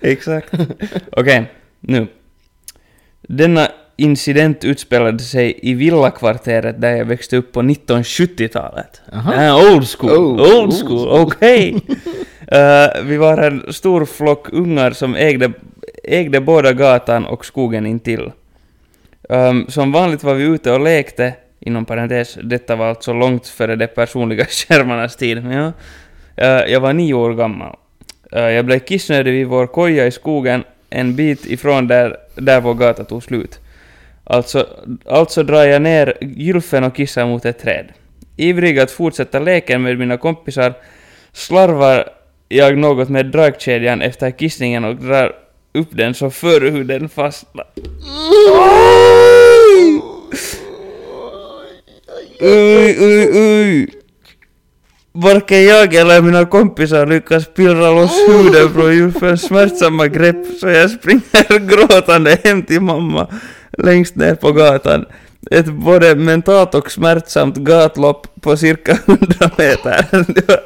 S3: Exakt. Okej, nu. Denna incident utspelade sig i villakvarteret där jag växte upp på 1970-talet.
S2: Aha.
S3: Ah, old school,
S2: Oh,
S3: old school, okej. Eh, vi var en stor flock ungar som ägde, ägde båda gatan och skogen intill. Ehm, som vanligt var vi ute och lekte, inom parentes, detta var alltså långt före de personliga skärmarnas tid, men ja. Eh, jag var nio år gammal. Eh, jag blev kissnödig vid vår koja i skogen, en bit ifrån där, där vår gata tog slut. Alltså, alltså drar jag ner gylfen och kissar mot ett träd. Ivrig att fortsätta leken med mina kompisar slarvar jag något med dragkedjan efter kissningen och drar upp den så förhuden fastnar. Uj, uj, uj. Varken jag eller mina kompisar lyckas pillra loss huden från Julfens smärtsamma grepp så jag springer gråtande hem till mamma längst ner på gatan. Ett både mentalt och smärtsamt gatlopp på cirka 100 meter. Det var-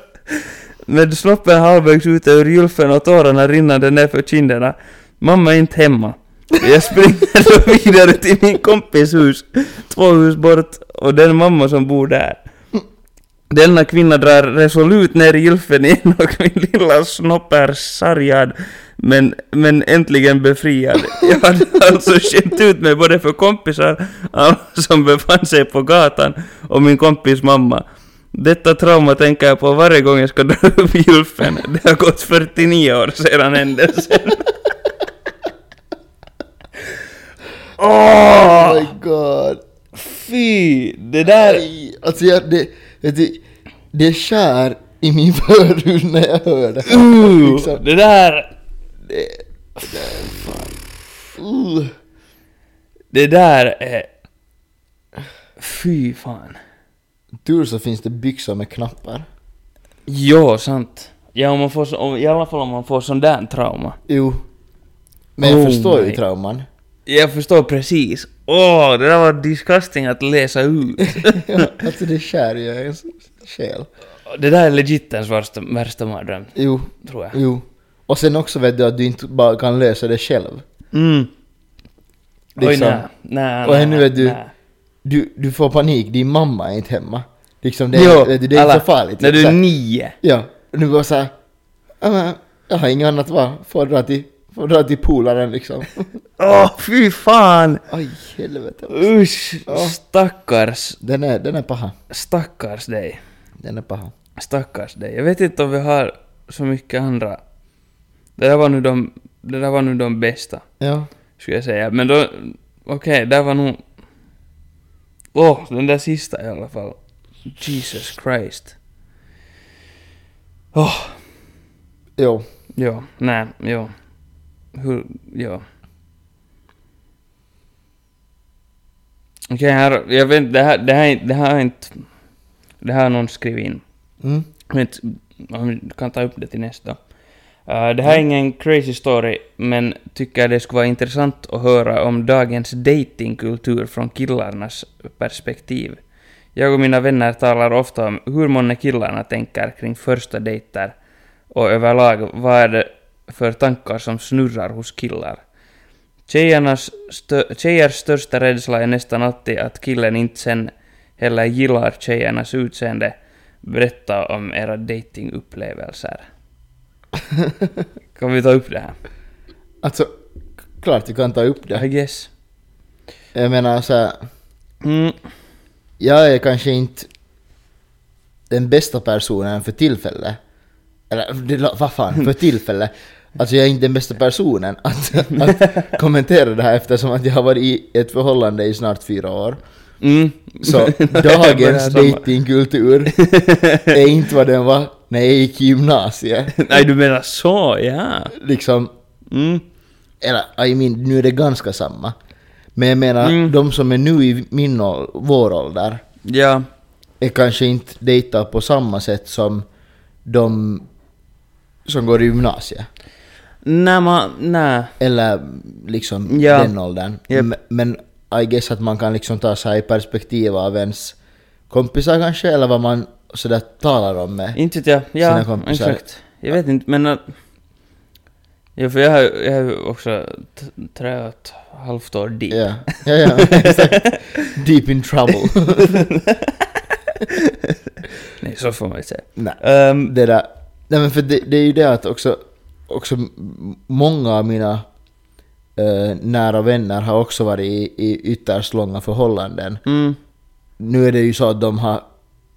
S3: Med snoppen halvvägs ute ur Julfen och tårarna rinnande nerför kinderna. Mamma är inte hemma. Jag springer då vidare till min kompis hus, två hus bort, och den mamma som bor där. Denna kvinna drar resolut ner i gylfen igen och min lilla snopp är sargad men, men äntligen befriad. Jag hade alltså skämt ut mig både för kompisar alla som befann sig på gatan och min kompis mamma. Detta trauma tänker jag på varje gång jag ska dra upp gylfen. Det har gått 49 år sedan händelsen. Åh!
S2: Oh my god.
S3: Fy! Det där...
S2: Nej, Alltså jag, det, vet du, det skär i min förhud när jag hör det här.
S3: Uh,
S2: Liksom,
S3: det där...
S2: uh.
S3: Det där är... Fy fan.
S2: Tur så finns det byxor med knappar.
S3: Ja, sant. Ja, om man får, så- om, i alla fall om man får sån där trauma.
S2: Jo. Men jag
S3: Oh
S2: förstår ju
S3: my-
S2: trauman.
S3: Jag förstår precis. Åh, det där var disgusting att läsa ut.
S2: alltså det skär ju i ens själ.
S3: det där är legit ens värsta, värsta mardröm,
S2: Jo.
S3: tror jag.
S2: Jo. Och sen också vet du att du inte bara kan lösa det själv.
S3: Mm. Oj,
S2: Liksom.
S3: nej. Nej,
S2: Och
S3: nej,
S2: ännu är du-
S3: nej.
S2: Du, du får panik, din mamma är inte hemma. Liksom det,
S3: Jo,
S2: är- vet du, det är
S3: alla-
S2: inte så farligt.
S3: När du
S2: Så
S3: är
S2: här-
S3: nio.
S2: Ja, och nu bara såhär, ja, men jag har inget annat val, får dra till, får dra till polaren liksom.
S3: Åh, fy fan!
S2: Aj, helvete.
S3: Usch!
S2: Ja.
S3: Stackars,
S2: Den är, den är paha.
S3: stackars dig.
S2: Den är paha.
S3: Stackars dig. Jag vet inte om vi har så mycket andra. Det där var nu de, det där var nu de bästa,
S2: Ja.
S3: skulle jag säga. Men då, okej, där var nog... Åh, den där sista i alla fall. Jesus Christ. Åh,
S2: Jo.
S3: ja, nej, ja. Hur, ja. Okej, här, jag vet inte, det här, det här, är inte- det här är inte... Det här har någon skrivit in.
S2: Mm.
S3: Jag vet inte om vi kan ta upp det till nästa. Eh, det här är ingen crazy story, men tycker det skulle vara intressant att höra om dagens datingkultur från killarnas perspektiv. Jag och mina vänner talar ofta om hur många killarna tänker kring första dejter och överlag vad är det för tankar som snurrar hos killar. Tjejernas stö- tjejers största rädsla är nästan alltid att killen inte sen heller gillar tjejernas utseende. Berätta om era datingupplevelser. kan vi ta upp det här?
S2: Alltså, k- klart vi kan ta upp det.
S3: I guess.
S2: Jag menar såhär,
S3: Mm.
S2: jag är kanske inte den bästa personen för tillfället. Eller det lå- vad fan, för tillfället. Alltså jag är inte den bästa personen att, att kommentera det här eftersom att jag har varit i ett förhållande i snart fyra år.
S3: Mm.
S2: Så
S3: Jag börjar
S2: dagens
S3: samma.
S2: datingkultur är inte vad den var när jag gick i gymnasiet.
S3: Nej, du menar så, ja.
S2: Liksom,
S3: Mm.
S2: eller I mean, nu är det ganska samma. Men jag menar,
S3: Mm.
S2: de som är nu i min ål- vår ålder
S3: Ja.
S2: är kanske inte dejtar på samma sätt som de som går i gymnasiet.
S3: Nej, man, nej.
S2: Eller liksom
S3: Ja.
S2: den åldern.
S3: Japp.
S2: M- Men I guess att man kan liksom ta sig i perspektiv av ens kompisar kanske, eller vad man sådär talar om med.
S3: Inte vet jag.
S2: Sina
S3: Ja,
S2: kompisar.
S3: exakt. Jag vet inte, men... att- Ja, för jag har jag har ju också t- tre och ett halvt år dit.
S2: Ja, ja, ja exakt. Deep in trouble.
S3: Nej, så får man ju säga.
S2: Nej,
S3: Ehm,
S2: det där. Nej men för det, det är ju det att också, också m- många av mina eh, nära vänner har också varit i, i ytterst långa förhållanden.
S3: mm,
S2: Nu är det ju så att de har,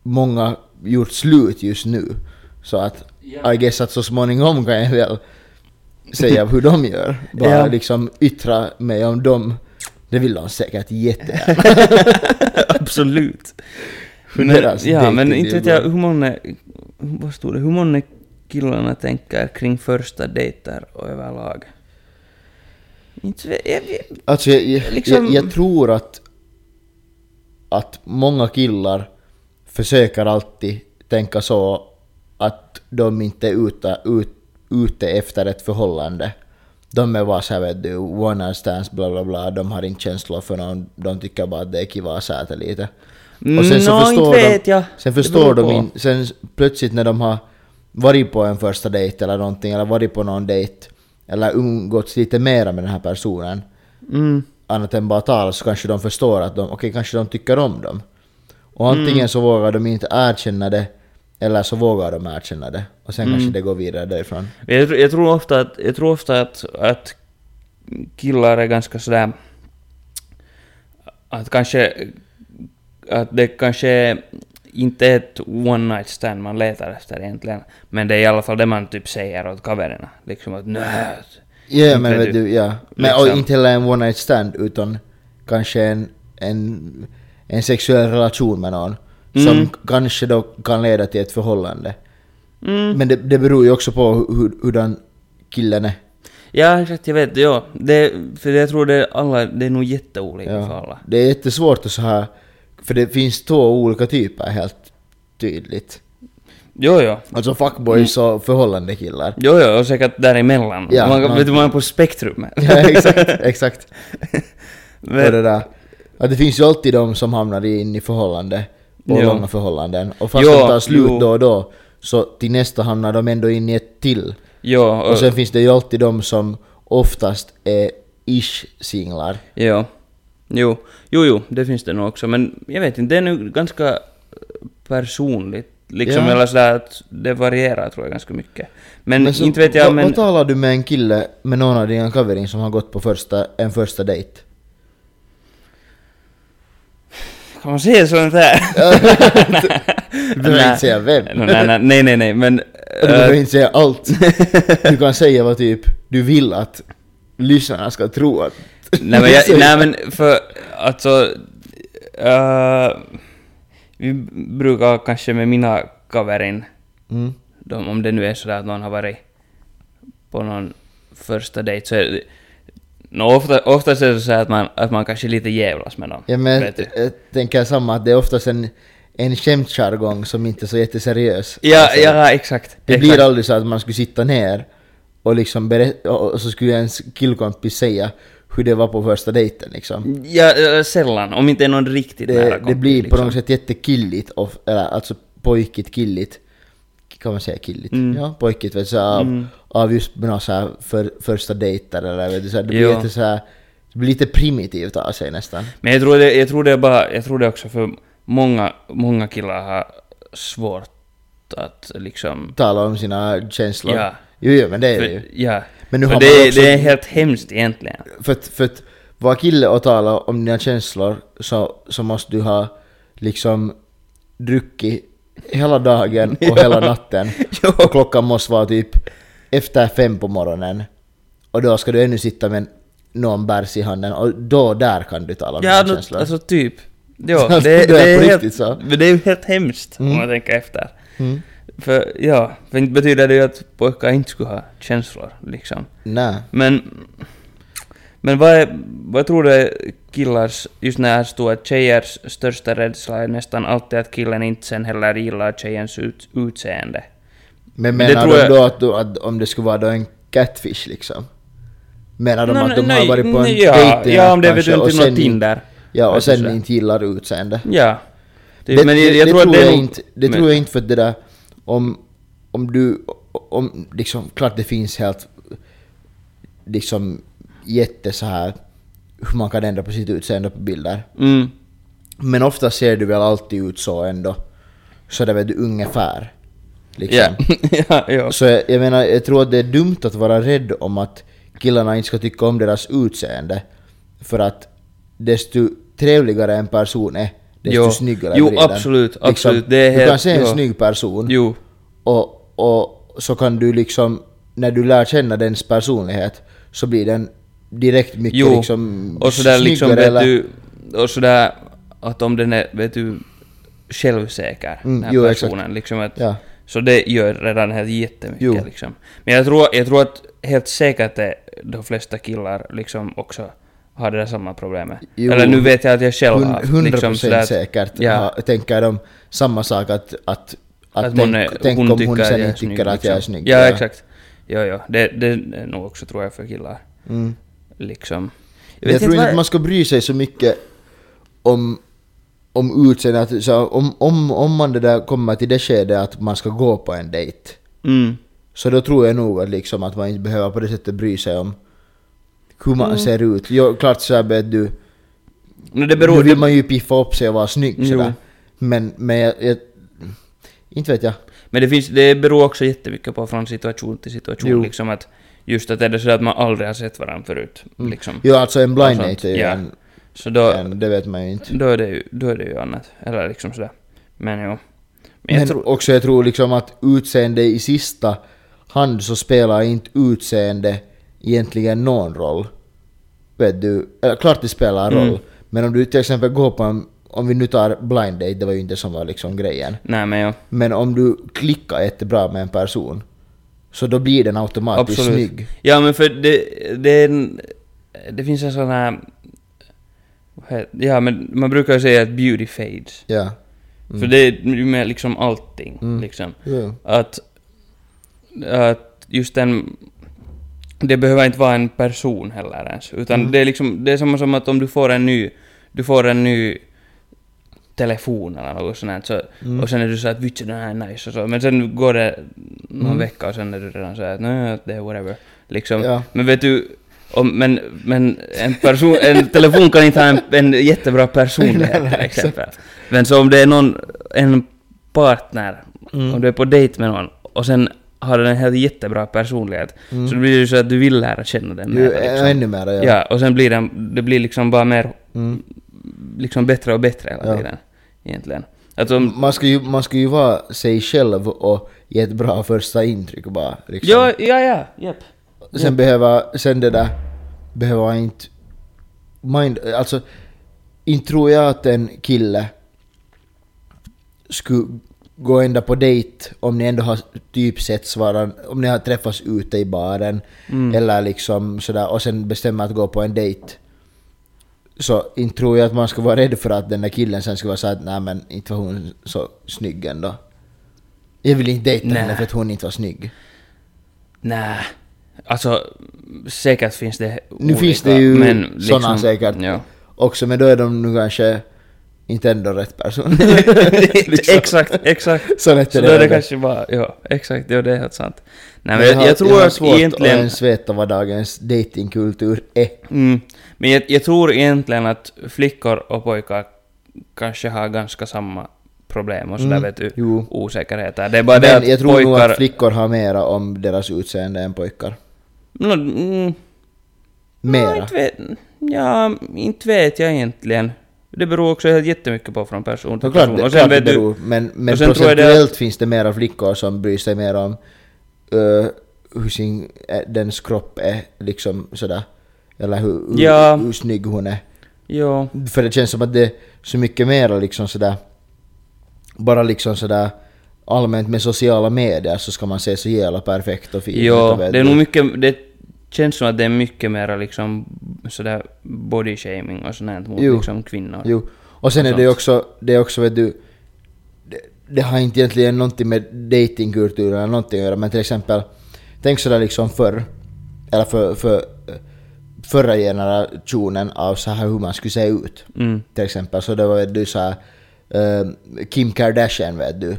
S2: många gjort slut just nu. Så att, I guess att så småningom kan jag väl säga hur de gör. Bara
S3: Ja.
S2: liksom yttra mig om dem. Det vill de säkert jättegärna.
S3: absolut.
S2: För
S3: Men-
S2: deras
S3: ja,
S2: dating,
S3: men
S2: det är
S3: inte vet
S2: bra.
S3: jag hur många... Vad stod det? Hur många killarna tänker kring första dejter och överlag? Inte så vet jag... vet-
S2: Alltså jag, jag,
S3: Liksom-
S2: jag, jag tror att, att många killar försöker alltid tänka så att de inte är ute, ut, ute efter ett förhållande. De är bara såhär vet du, one night stands bla bla bla, de har inte känslor för någon, de tycker bara att det är kiva att säta lite. Och sen så
S3: Mm, Nå,
S2: förstår
S3: inte
S2: de-
S3: vet jag.
S2: Sen
S3: Det
S2: förstår
S3: beror
S2: de
S3: på.
S2: in, sen s- plötsligt när de har varit på en första dejt eller någonting, eller varit på någon dejt, eller umgåtts lite mera med den här personen,
S3: Mm.
S2: annat än bara tal så kanske de förstår att de, okej kanske de tycker om dem. Och antingen så vågar de inte erkänna det, eller så vågar de erkänna det. Och sen kanske det går vidare därifrån.
S3: Jag, tr- jag tror ofta att, jag tror ofta att, att killar är ganska sådär... Att kanske... Att det kanske inte är ett one night stand man letar efter egentligen. Men det är i alla fall det man typ säger åt coverna. Liksom att nö.
S2: Ja,
S3: Inte
S2: men vet
S3: du.
S2: du, ja. Men och
S3: Liksom.
S2: inte heller en one night stand, utan kanske en, en, en sexuell relation med någon. Som
S3: Mm.
S2: k- kanske då kan leda till ett förhållande.
S3: Mm.
S2: Men det, det beror ju också på hur, hur, hurdan killen är.
S3: Ja, exakt, jag vet. Ja. Det, för jag tror det är alla, det är nog jätteolika
S2: Ja.
S3: för alla.
S2: Det är jättesvårt att så här, för det finns två olika typer helt tydligt.
S3: Jo, jo.
S2: Alltså fuckboys och förhållandekillar.
S3: Jo, jo, och säkert däremellan.
S2: Ja,
S3: man,
S2: man-
S3: Vet du, man är på spektrumet.
S2: Ja, exakt, exakt. Och
S3: Men-
S2: det där. Att det finns ju alltid de som hamnar in i förhållande, och
S3: Jo.
S2: långa förhållanden. Och fast
S3: Jo,
S2: de tar slut
S3: jo.
S2: då och då, så till nästa hamnar de ändå in i ett till.
S3: Jo, och,
S2: Och sen finns det ju alltid de som oftast är ish-singlar.
S3: Ja. Jo. jo, jo, det finns det nog också. Men jag vet inte, det är nu ganska personligt. Liksom,
S2: Ja.
S3: eller sådär att det varierar tror jag ganska mycket. Men,
S2: så-
S3: inte vet jag,
S2: vad-
S3: men...
S2: Vad talar du med en kille, med någon av dina covering som har gått på första, en första dejt?
S3: Kan man säga sånt här?
S2: Du behöver inte säga vem.
S3: Nå, nej, nej, nej, nej, nej, men...
S2: Du
S3: eh,
S2: behöver inte säga allt. Du kan säga vad typ du vill att lyssnarna ska tro att...
S3: nej, men jag, nej men för alltså... eh, vi brukar kanske med mina kaverin,
S2: Mm.
S3: de, om det nu är sådär att någon har varit på någon första dejt så är det... nå, ofta, oftast är det så här att man, att man kanske lite jävlas med dem.
S2: Ja, men
S3: vet du.
S2: jag, tänker samma, att det är oftast en, en skämtjargong som inte är så jätteseriös.
S3: ja, ja, exakt.
S2: alltså, Det
S3: exakt.
S2: blir aldrig så att man skulle sitta ner och liksom berätta, och så skulle ens killkompis säga hur det var på första dejten liksom.
S3: Ja, eh, sällan. Om inte är någon riktigt nära
S2: Det, det
S3: kompis,
S2: blir på
S3: liksom.
S2: något sätt jättekilligt, och, eller alltså pojkigt killigt. Kan man säga killigt?
S3: Mm.
S2: Ja, pojkigt vet du, så av, av just några så här för, första dejter eller vet du, så här, det blir
S3: Jo.
S2: lite så här, det blir lite primitivt av sig nästan.
S3: Men jag tror, det, jag tror det är bara, jag tror det också för många, många killar har svårt att liksom...
S2: Tala om sina känslor.
S3: Ja.
S2: Jo, jo, men det är det ju.
S3: För, ja.
S2: Men nu
S3: För
S2: har man
S3: det,
S2: också-
S3: det är helt hemskt egentligen.
S2: För att, för att vara kille och tala om dina känslor så, så måste du ha liksom druckit hela dagen och hela natten.
S3: Jo.
S2: Och klockan måste vara typ efter fem på morgonen. Och då ska du ännu sitta med någon bärs i handen och då där kan du tala om
S3: Ja,
S2: dina
S3: nå-
S2: känslor.
S3: alltså typ. Jo,
S2: Alltså,
S3: det,
S2: det är
S3: det,
S2: på
S3: är
S2: riktigt
S3: helt,
S2: så.
S3: men det är ju helt hemskt om man tänker efter.
S2: Mm.
S3: För ja, för inte betyder det ju att pojkar inte skulle ha känslor liksom.
S2: Nej.
S3: Men, men vad, är, vad tror du är killars, just när här står att tjejers största rädsla är nästan alltid att killen inte sen heller gillar tjejens ut, utseende.
S2: Men
S3: Men det
S2: menar
S3: tror
S2: de
S3: jag-
S2: då att, du- att om det skulle vara då en catfish liksom? Menar de
S3: Nå,
S2: att de
S3: nå,
S2: har
S3: nej,
S2: varit på en
S3: nej, ja,
S2: dejting
S3: ja, om det är
S2: kanske,
S3: väl
S2: och
S3: typ något
S2: sen-
S3: Tinder.
S2: Ja, och
S3: Vet du
S2: sen
S3: så.
S2: inte gillar utseende.
S3: Ja. Typ,
S2: Det,
S3: men jag,
S2: det,
S3: jag
S2: det
S3: tror att det är nog-
S2: inte, det
S3: men-
S2: tror jag inte för att det där om, om du, om liksom, klart det finns helt liksom jätte så här hur man kan ändra på sitt utseende på bilder.
S3: Mm,
S2: Men ofta ser du väl alltid ut så ändå. Så det vet du ungefär. Liksom.
S3: ja, ja, ja.
S2: Så jag, jag menar, jag tror att det är dumt att vara rädd om att killarna inte ska tycka om deras utseende. För att desto trevligare en person är, desto
S3: Jo.
S2: snyggare
S3: Jo,
S2: blir den. Liksom,
S3: absolut, absolut. Det är
S2: Du kan
S3: helt-
S2: se en
S3: jo.
S2: snygg person
S3: Jo.
S2: och, och så kan du liksom, när du lär känna dens personlighet så blir den direkt mycket
S3: Jo,
S2: liksom
S3: och sådär liksom
S2: snyggare
S3: vet
S2: eller-
S3: du, och sådär att om den är, vet du, självsäker,
S2: Mm,
S3: den här
S2: jo, exakt.
S3: personen liksom att,
S2: Ja.
S3: så det gör redan helt jättemycket
S2: Jo.
S3: liksom. Men jag tror, jag tror att helt säkert är de flesta killar liksom också har det där samma problemet.
S2: Jo.
S3: Eller nu vet jag att jag själv har
S2: Hun- 100%
S3: sådär att-
S2: säkert
S3: Ja,
S2: ha, tänker de samma sak att, att, att,
S3: att
S2: tänk,
S3: hon är,
S2: tänk
S3: hon
S2: om
S3: tycker
S2: hon
S3: att
S2: sen
S3: jag är
S2: inte
S3: snygg.
S2: tycker att jag är
S3: liksom.
S2: snygg.
S3: Ja, exakt. Jo, jo. Det, det är nog också tror jag för killar.
S2: Mm.
S3: Liksom.
S2: Jag, tror inte
S3: vad-
S2: att man ska bry sig så mycket om, om utseende. Att, så, om, om, om man det där kommer till det skedet att man ska gå på en dejt.
S3: Mm.
S2: Så då tror jag nog att, liksom, att man inte behöver på det sättet bry sig om hur man ser ut. Jo, klart så här, vet du,
S3: No, det beror,
S2: nu vill man ju piffa upp sig och vara snygg
S3: Jo.
S2: sådär. Men, men jag, jag... Inte vet jag.
S3: Men det, finns, det beror också jättemycket på från situation till situation.
S2: Jo.
S3: Liksom att just att är det så att man aldrig har sett varandra förut. Liksom.
S2: Jo, alltså en blind
S3: Och sånt,
S2: date är ju
S3: ja.
S2: en,
S3: Så då,
S2: en... Det vet man ju inte.
S3: då, är det ju, då är det ju annat. Eller liksom sådär. Men jo. Men jag
S2: Men
S3: tror...
S2: också jag tror liksom att utseende i sista hand så spelar inte utseende egentligen någon roll. Vet du? Eller, klart det spelar en
S3: Mm.
S2: roll. Men om du till exempel går på en... Om vi nu tar blind date, det var ju inte som var liksom grejen.
S3: Nej men jo.
S2: Men om du klickar jättebra med en person, så då blir den automatiskt
S3: Absolut.
S2: snygg.
S3: Ja men för det, det, är en, det finns en sån här... vad heter- Ja men man brukar ju säga att beauty fades.
S2: Ja. Mm.
S3: För det är ju med liksom allting. Liksom.
S2: Ja.
S3: Att, att just den... Det behöver inte vara en person heller ens. Utan det är liksom, det är samma som att om du får en ny, du får en ny telefon eller något sånt här, så, och sen är du så att vitsen den här är nice och så. Men sen går det någon vecka och sen är du redan så att nej, det är whatever. Liksom.
S2: Ja.
S3: Men vet du, om, men, men en, person, en telefon kan inte ha en, en jättebra personlighet till exempel. Men så om det är någon, en partner, om du är på dejt med någon och sen har den en helt jättebra personlighet, så det blir det ju så att du vill lära känna den
S2: Ju,
S3: mer.
S2: ä-
S3: Liksom.
S2: ännu mer, ja.
S3: Ja, och sen blir den, det blir liksom bara mer,
S2: Mm.
S3: liksom bättre och bättre hela
S2: Ja. Mm.
S3: tiden. Egentligen. Alltså, om-
S2: Man, ska ju, man ska ju vara sig själv och ge ett bra första intryck bara. Liksom.
S3: ja, ja, ja, japp.
S2: Sen behöva, sen det där, behöver jag inte... Mind, alltså, inte tror jag att en kille skulle gå ända på dejt om ni ändå har typ setts varandra, om ni har träffats ute i baren eller liksom sådär och sen bestämmer att gå på en dejt. Så inte tror jag att man ska vara rädd för att den där killen sen ska vara såhär att nej men inte var hon så snygg ändå. Jag vill inte dejta
S3: Nej.
S2: henne för att hon inte var snygg.
S3: Nej. Alltså, säkert finns det
S2: Nu
S3: olika,
S2: finns det ju
S3: men liksom,
S2: sådana säkert
S3: Ja.
S2: också, men då är de nu kanske inte ändå rätt person. Liksom.
S3: exakt, exakt.
S2: Så lätt
S3: Så
S2: är
S3: då är det
S2: det. ändå.
S3: kanske bara, ja, exakt, ja, det är helt sant.
S2: Men
S3: Nej men jag,
S2: har-
S3: jag tror
S2: har
S3: att
S2: svårt
S3: egentligen...
S2: att ens veta vad dagens datingkultur är.
S3: Mm. Men jag, jag tror egentligen att flickor och pojkar kanske har ganska samma problem och sådär
S2: Mm,
S3: vet du,
S2: jo.
S3: osäkerheter. Det är bara det
S2: Men
S3: att
S2: jag tror nog
S3: pojkar...
S2: att flickor har mera om deras utseende än pojkar.
S3: Nå, mm, Ja,
S2: Mera.
S3: inte vet, ja, inte vet jag egentligen. Det beror också helt jättemycket på från person till
S2: Såklart
S3: person.
S2: det,
S3: Och
S2: klart
S3: sen
S2: det
S3: vet du...
S2: beror, men, men
S3: och sen tror jag det-
S2: procentuellt finns det mera flickor som bryr sig mer om eh, hur sin, eh, dens kropp är liksom sådär. Eller hur, hur,
S3: Ja.
S2: hur snygg hon är.
S3: Ja.
S2: För det känns som att det är så mycket mera liksom sådär... Bara liksom sådär allmänt med sociala medier så ska man se så jävla perfekt och fin
S3: Ja,
S2: ut, vet
S3: det är
S2: du.
S3: nog mycket... Det känns som att det är mycket mer liksom sådär body shaming och sånt här mot
S2: Jo.
S3: liksom kvinnor.
S2: Jo. Och sen är det ju också, det är också vet du... Det, det har inte egentligen någonting med datingkulturen eller någonting att göra men till exempel... Tänk sådär liksom förr. Eller för, för förra generationen av så här hur man skulle se ut.
S3: Mm.
S2: till exempel. Så det var du så här, eh, Kim Kardashian vet du.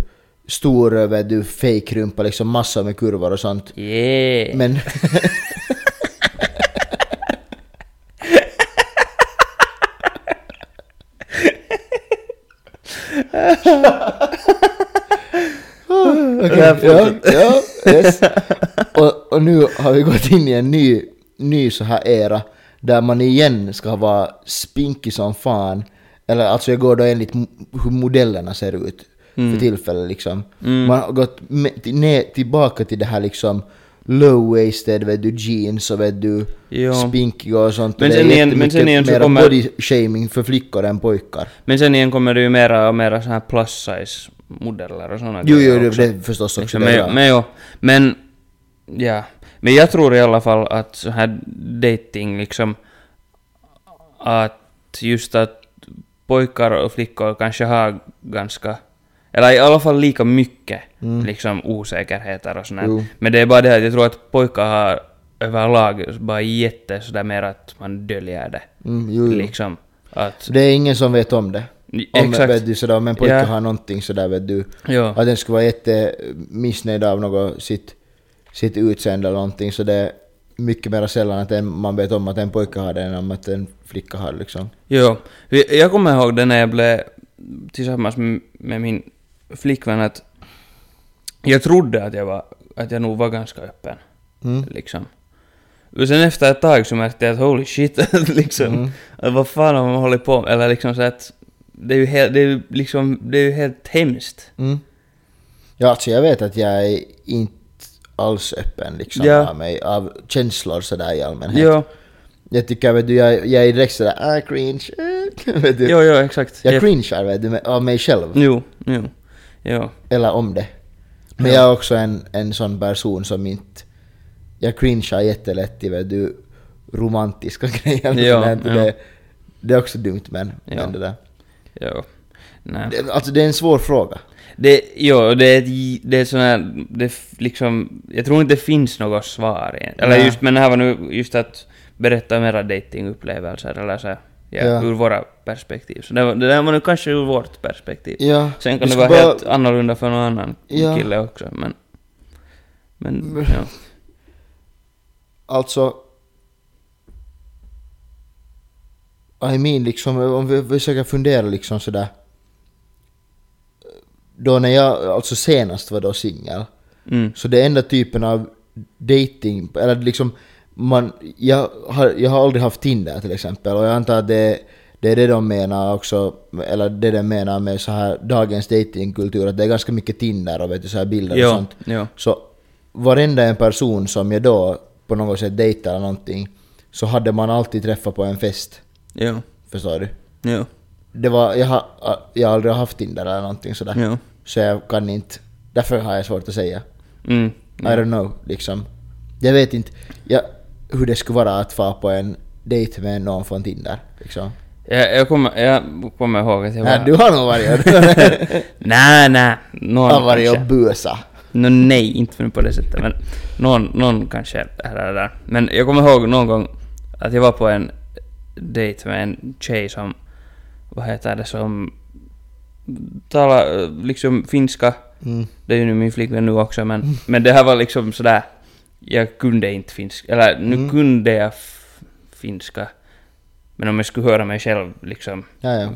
S2: Stor vet du, fake rumpa liksom massor med kurvor och sånt.
S3: Yeah!
S2: Men... Okej, ja, ja, yes. och, och nu har vi gått in i en ny, ny så här era där man igen ska vara spinkig som fan. Eller alltså jag går då enligt m- hur modellerna ser ut
S3: Mm.
S2: för tillfället liksom. Man har gått me- till, ner, tillbaka till det här liksom low-waisted vet du, jeans och vet du,
S3: Ja.
S2: spinkiga och sånt. Och
S3: Men
S2: det är
S3: sen igen- men
S2: jättemycket
S3: sen igen så
S2: mera
S3: kommer-
S2: body-shaming för flickor än pojkar.
S3: Men sen igen kommer det ju mera och mera så här plus size modeller och sådana
S2: Jo, jo, det, det är förstås också.
S3: liksom,
S2: det, ja.
S3: men, men jo, men... Ja. Men jag tror i alla fall att så här dating liksom... Att just att pojkar och flickor kanske har ganska... Eller i alla fall lika mycket liksom osäkerheter och sånt
S2: Mm. Jo.
S3: här. Men det är bara det att jag tror att pojkar har överlag bara jätte sådär mer att man döljer det.
S2: Mm, jo, jo.
S3: Liksom. Att...
S2: Det är ingen som vet om det. Om,
S3: Exakt.
S2: vet du, sådär, om en pojke
S3: Ja.
S2: har någonting sådär vet du.
S3: Ja.
S2: Att den skulle vara jättemissnöjd av något sitt, sitt utseende eller någonting. Så det är mycket mer sällan att en, man vet om att en pojke har det än om att en flicka har det liksom.
S3: Jo, vi- jag kommer ihåg det när jag blev tillsammans med, med min flickvän att jag trodde att jag, var, att jag nog var ganska öppen.
S2: Mm.
S3: Liksom. Och sen efter ett tag så märkte jag att holy shit, att liksom,
S2: Mm.
S3: att vad fan har man hållit på med? Eller liksom så att det är ju helt, det är ju liksom, det är ju helt hemskt.
S2: Mm. Ja, alltså jag vet att jag är inte alls öppen liksom
S3: Ja.
S2: av mig, av känslor sådär i allmänhet.
S3: Jo,
S2: Jag tycker, vet du, jag, jag är direkt sådär ah, cringe, eh", vet du.
S3: jo, jo, exakt.
S2: Jag
S3: Ja.
S2: cringear vet du, med- av mig själv,
S3: Jo, jo, jo.
S2: eller om det. Men jag är också en, en sån person som inte... Jag cringear jättelätt i vet du, romantiska grejer. och
S3: Ja,
S2: sådär.
S3: ja.
S2: Det, det är också dumt men,
S3: Ja.
S2: men det där.
S3: jo. Nej.
S2: Det, alltså det är en svår fråga.
S3: Det, jo, det är ett, j- det är sån här, det f- liksom, jag tror inte det finns något svar egentligen. Eller
S2: Nej.
S3: just, men det här var nu just att berätta om era datingupplevelser eller så här, ja,
S2: Ja.
S3: ur våra perspektiv. Så det, var, det där var nu kanske ur vårt perspektiv.
S2: Ja,
S3: Sen
S2: vi
S3: kan det
S2: ska
S3: vara helt annorlunda för någon annan
S2: Ja.
S3: kille också, men... Men,
S2: Men-
S3: ja.
S2: Alltså... I mean, liksom, om vi försöker fundera liksom sådär... Då när jag, alltså senast var då singel.
S3: Mm.
S2: Så det enda typen av dating, eller liksom... Man, jag, har, jag har aldrig haft Tinder till exempel och jag antar att det, det är det de menar också, eller det de menar med så här dagens datingkultur att det är ganska mycket Tinder och vet du, så här bilder och
S3: Jo,
S2: sånt.
S3: jo.
S2: Så varenda en person som jag då på något sätt dejtade eller någonting så hade man alltid träffat på en fest.
S3: Jo.
S2: Förstår du?
S3: Jo.
S2: Det var, jag har jag har aldrig haft Tinder eller någonting sådär.
S3: Jo.
S2: Så jag kan inte, därför har jag svårt att säga.
S3: Mm.
S2: I don't know, liksom. Jag vet inte jag, hur det skulle vara att vara på en dejt med någon från Tinder. Liksom.
S3: Jag, jag, kommer, jag kommer ihåg att jag var...
S2: Nej, du har nog varit
S3: Nej, nej. Någon
S2: har varit och
S3: kanske.
S2: busa.
S3: Nå, nej, inte nu på det sättet. Men någon, någon kanske här eller där. Men jag kommer ihåg någon gång att jag var på en dejt med en tjej som, vad heter det, som talar eh, liksom finska.
S2: Mm.
S3: Det är ju nu min flickvän nu också, men, men det här var liksom sådär, jag kunde inte finska, eller nu
S2: Mm.
S3: kunde jag f- finska. Men om jag skulle höra mig själv liksom
S2: Ja, ja.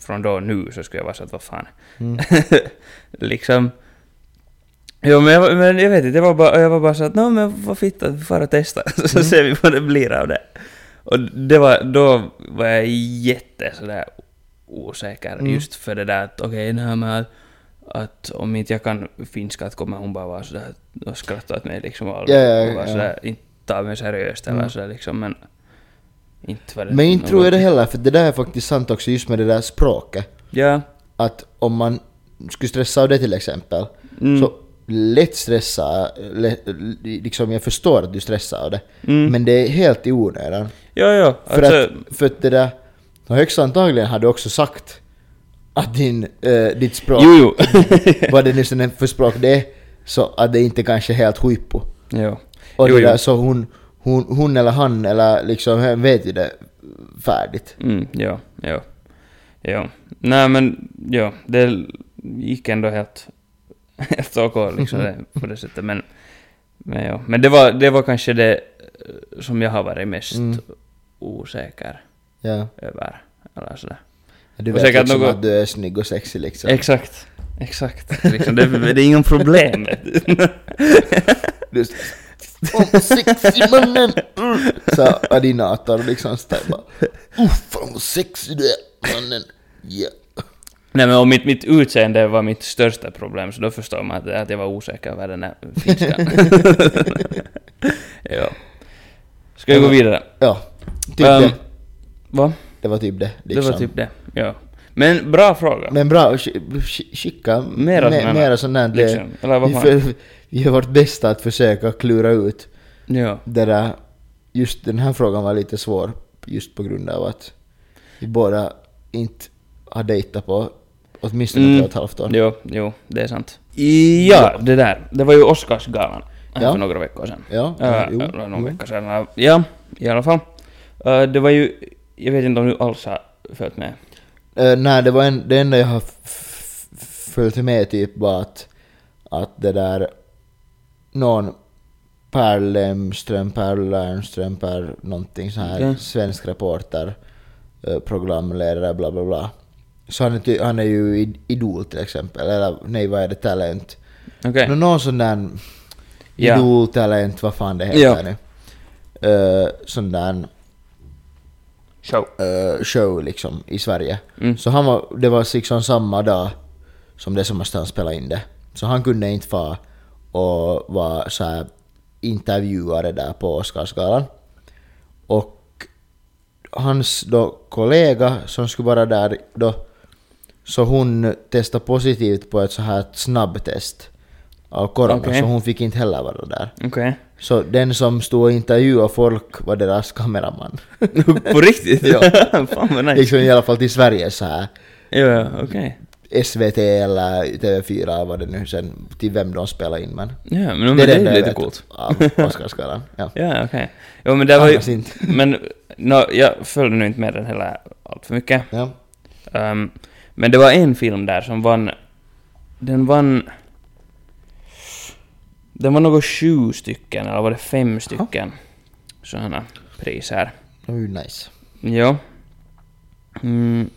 S3: från då och nu så skulle jag vara så att vad fan.
S2: Mm.
S3: liksom. Jo men jag, men jag vet inte, jag var bara, jag var bara så att nå men vad fitt att vi far och testa så
S2: Mm.
S3: ser vi vad det blir av det. Och det var, då var jag jätte sådär osäker
S2: Mm.
S3: just för det där att okej okay, med att, att om inte jag kan finska att kommer hon bara vara sådär och skratta åt mig liksom och,
S2: Ja, ja,
S3: och vara
S2: ja.
S3: sådär, inte ta mig seriöst eller
S2: Mm.
S3: sådär liksom men inte var det
S2: Men inte tror
S3: något-
S2: jag det heller, för det där är faktiskt sant också just med det där språket.
S3: Ja.
S2: Att om man skulle stressa av det till exempel,
S3: Mm.
S2: så lätt stressa, lä- liksom jag förstår att du stressar av det,
S3: Mm.
S2: men det är helt i onödan.
S3: Ja, ja.
S2: För,
S3: alltså,
S2: att, för att det där, och högst antagligen har du också sagt att din, eh, ditt språk,
S3: Jo, jo.
S2: vad det nu sen är för språk det är, så att det inte kanske är helt huippo.
S3: jo.
S2: Och
S3: jo,
S2: det där,
S3: jo.
S2: så hon, hon, hon eller han eller liksom, hen vet ju det färdigt.
S3: Mm, ja, ja. Ja. Nej, men ja, det gick ändå helt, helt okej liksom
S2: Mhm.
S3: det, på det sättet. Men, men ja. Men det var, det var kanske det eh, som jag har varit mest
S2: Mm.
S3: osäker
S2: Ja.
S3: över. Eller sådär.
S2: Du
S3: Och
S2: vet
S3: säkert
S2: liksom
S3: något-
S2: att du är snygg och sexig liksom.
S3: Exakt. Exakt. Liksom, det, det är inget problem. vet du.
S2: Du s- Åh, sexig mannen! Mm. Så ordinatorn liksom sådär bara. Oh, fan vad sexig du är mannen! Yeah.
S3: Nej men om mitt, mitt utseende var mitt största problem så då förstår man att, att jag var osäker över den här finskan. ja. Ska vi gå vidare?
S2: Ja, typ
S3: Ehm,
S2: det.
S3: Va?
S2: Det var typ det.
S3: Det
S2: Liksom.
S3: var typ det. Ja. Men bra fråga.
S2: Men bra, sk- sk- skicka
S3: Mera sådana-
S2: mera sånt där. Det-
S3: liksom. Eller vad
S2: vi,
S3: fan?
S2: för, vi har vårt bästa att försöka klura ut
S3: Ja.
S2: det där. äh, Just den här frågan var lite svår just på grund av att vi båda inte har dejtat på åtminstone ett och ett halvt år.
S3: Jo, Mm. jo, det är sant. Ja, det där. Det var ju Oscarsgalan här
S2: Ja.
S3: för några veckor sedan.
S2: Ja,
S3: Äh,
S2: ja, jo,
S3: eller någon
S2: jo.
S3: vecka sedan. Ja, i alla fall. Äh, det var ju... Jag vet inte om du alls har följt med.
S2: Eh, nej, det var en, det enda jag har f- f- följt med typ var att, att det där någon Per Lemström, Per Lernström, Per någonting så här
S3: Okej.
S2: svensk reporter, eh, programledare, bla bla bla. Så han är, ty- han är ju i- idol till exempel, eller nej vad är det, talent?
S3: Okej.
S2: Nå, någon sån där
S3: Ja.
S2: idol, talent, vad fan det heter
S3: Ja.
S2: nu. Eh, sån där
S3: Show.
S2: eh, show liksom i Sverige.
S3: Mm.
S2: Så han var, det var liksom samma dag som det som han spelade in det. Så han kunde inte vara och vara så här intervjuare där på Oscarsgalan. Och hans då kollega som skulle vara där då, så hon testade positivt på ett så här snabbtest av corona,
S3: Okej.
S2: så hon fick inte heller vara där.
S3: Okej.
S2: Så den som stod och intervjuade folk var deras kameraman.
S3: På riktigt?
S2: Ja.
S3: Fan vad nice.
S2: liksom i alla fall till Sverige så här.
S3: Ja, ja, okej.
S2: SVT eller TV4 eller vad det nu sen till vem de spelar in men.
S3: Ja, men, men det, är
S2: enda jag
S3: lite
S2: vet
S3: coolt.
S2: Av Oscarsgalan. Ja.
S3: Ja, okej. Jo, men det var
S2: Annars
S3: ju...
S2: inte.
S3: Men no, jag följde nu inte med den heller allt för mycket.
S2: ja.
S3: Ehm, men det var en film där som vann... Den vann... Den var något sju stycken, eller var det fem stycken sådana priser.
S2: Det var ju nice.
S3: Ja. Mm.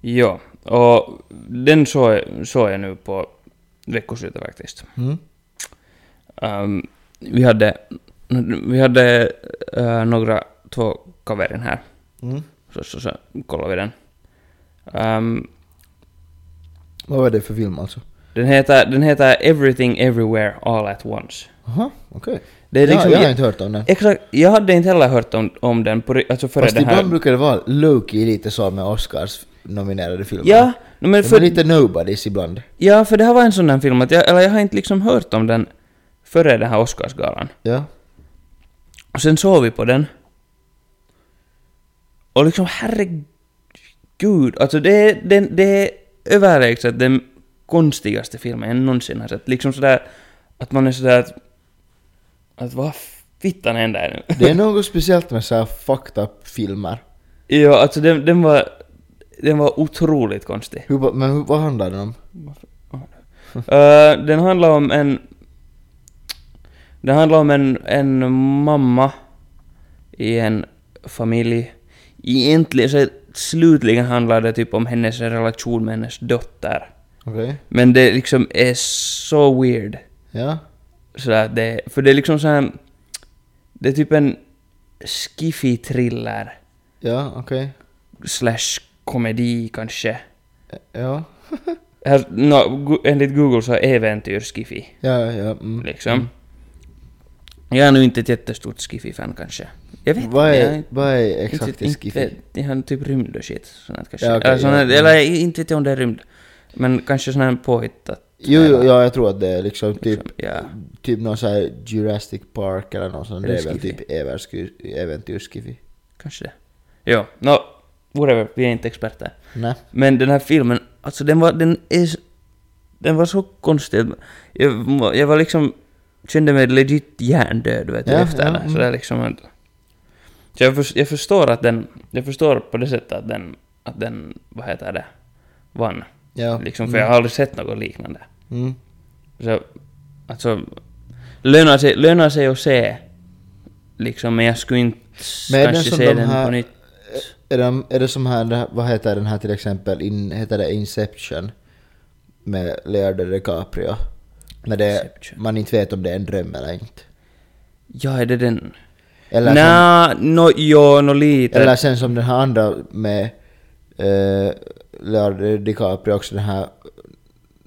S3: Ja, och den såg jag, såg jag nu på veckoslutet faktiskt.
S2: Mm.
S3: Ehm, vi hade, vi hade eh, några, två kaverin här.
S2: Mm.
S3: Så, så, så kollade vi den. Ehm,
S2: Vad var det för film alltså?
S3: den, heter, den heter Everything Everywhere All At Once.
S2: Jaha, okej.
S3: Det är liksom...
S2: ja, jag har inte hört om den.
S3: Exakt, jag hade inte heller hört om, om den på, ri- alltså före
S2: Fast
S3: den här...
S2: ibland brukar det vara low-key lite så med Oscars nominerade filmer.
S3: Ja, no, men
S2: De
S3: för,
S2: är lite nobodies ibland.
S3: ja, för det här var en sån där film att jag, eller jag har inte liksom hört om den före den här Oscarsgalan.
S2: Ja.
S3: Och sen såg vi på den. Och liksom herregud, alltså det är, det, det är överlägset den konstigaste filmen jag någonsin har sett. Liksom sådär att man är sådär att... Att vad fittan händer nu?
S2: Det är något speciellt med så här fucked up filmer.
S3: ja, alltså den, den var... Den var otroligt konstig.
S2: Hur, ba- men hur, vad handlar den om?
S3: Eh, den handlar om en... Den handlar om en, en mamma i en familj. Egentligen så slutligen handlar det typ om hennes relation med hennes dotter.
S2: Okej.
S3: Men det liksom är så weird.
S2: Ja.
S3: Så att det, för det är liksom så här, Det är typ en skiffy thriller
S2: Ja, okej.
S3: slash komedi kanske.
S2: Ja.
S3: Här, no, gu- enligt Google så är äventyr skiffy.
S2: Ja, ja. Mm.
S3: liksom. Jag är nu inte ett jättestort skiffy-fan kanske. Jag vet
S2: Vad
S3: inte, jag
S2: är, vad är
S3: inte,
S2: exakt
S3: inte,
S2: i
S3: inte,
S2: skiffy?
S3: vet- jag har typ rymd och shit. Sånt här kanske.
S2: Ja, okej,
S3: eller, sån
S2: ja,
S3: här,
S2: mm.
S3: eller inte vet jag om det är rymd. Men kanske sån här påhittat.
S2: Jo, jo, ja, jag tror att det är liksom typ,
S3: Liksom, ja.
S2: typ någon sån här Jurassic Park eller någon sån.
S3: Är
S2: Det
S3: det
S2: är väl
S3: skiffy?
S2: typ äventyrs- äventyrsskiffy.
S3: Kanske det. Ja, no, whatever. Vi är inte experter.
S2: Nej.
S3: Men den här filmen, alltså den var, den är, s- den var så konstig. Jag, må- jag var liksom, kände mig legit hjärndöd vet du,
S2: Ja,
S3: efter
S2: ja,
S3: den. Så
S2: mm.
S3: där liksom, att- så jag, förs- jag förstår att den, jag förstår på det sättet att den, att den, vad heter det, vann.
S2: Ja.
S3: Liksom, för jag har aldrig sett något liknande.
S2: Mm.
S3: Så, alltså, lönar sig, lönar sig att se, liksom, men jag skulle inte s-
S2: Men är den
S3: kanske
S2: som
S3: se
S2: de
S3: den
S2: här- Eh,
S3: på nytt.
S2: Är det, är det som här, det här- vad heter den här till exempel, In, heter det Inception? Med Leonardo DiCaprio. När det,
S3: Inception.
S2: man inte vet om det är en dröm eller inte.
S3: Ja, är det den?
S2: Eller, som,
S3: Nja, nå, jo, nå lite.
S2: eller sen som den här andra med eh, Leonardo DiCaprio också den här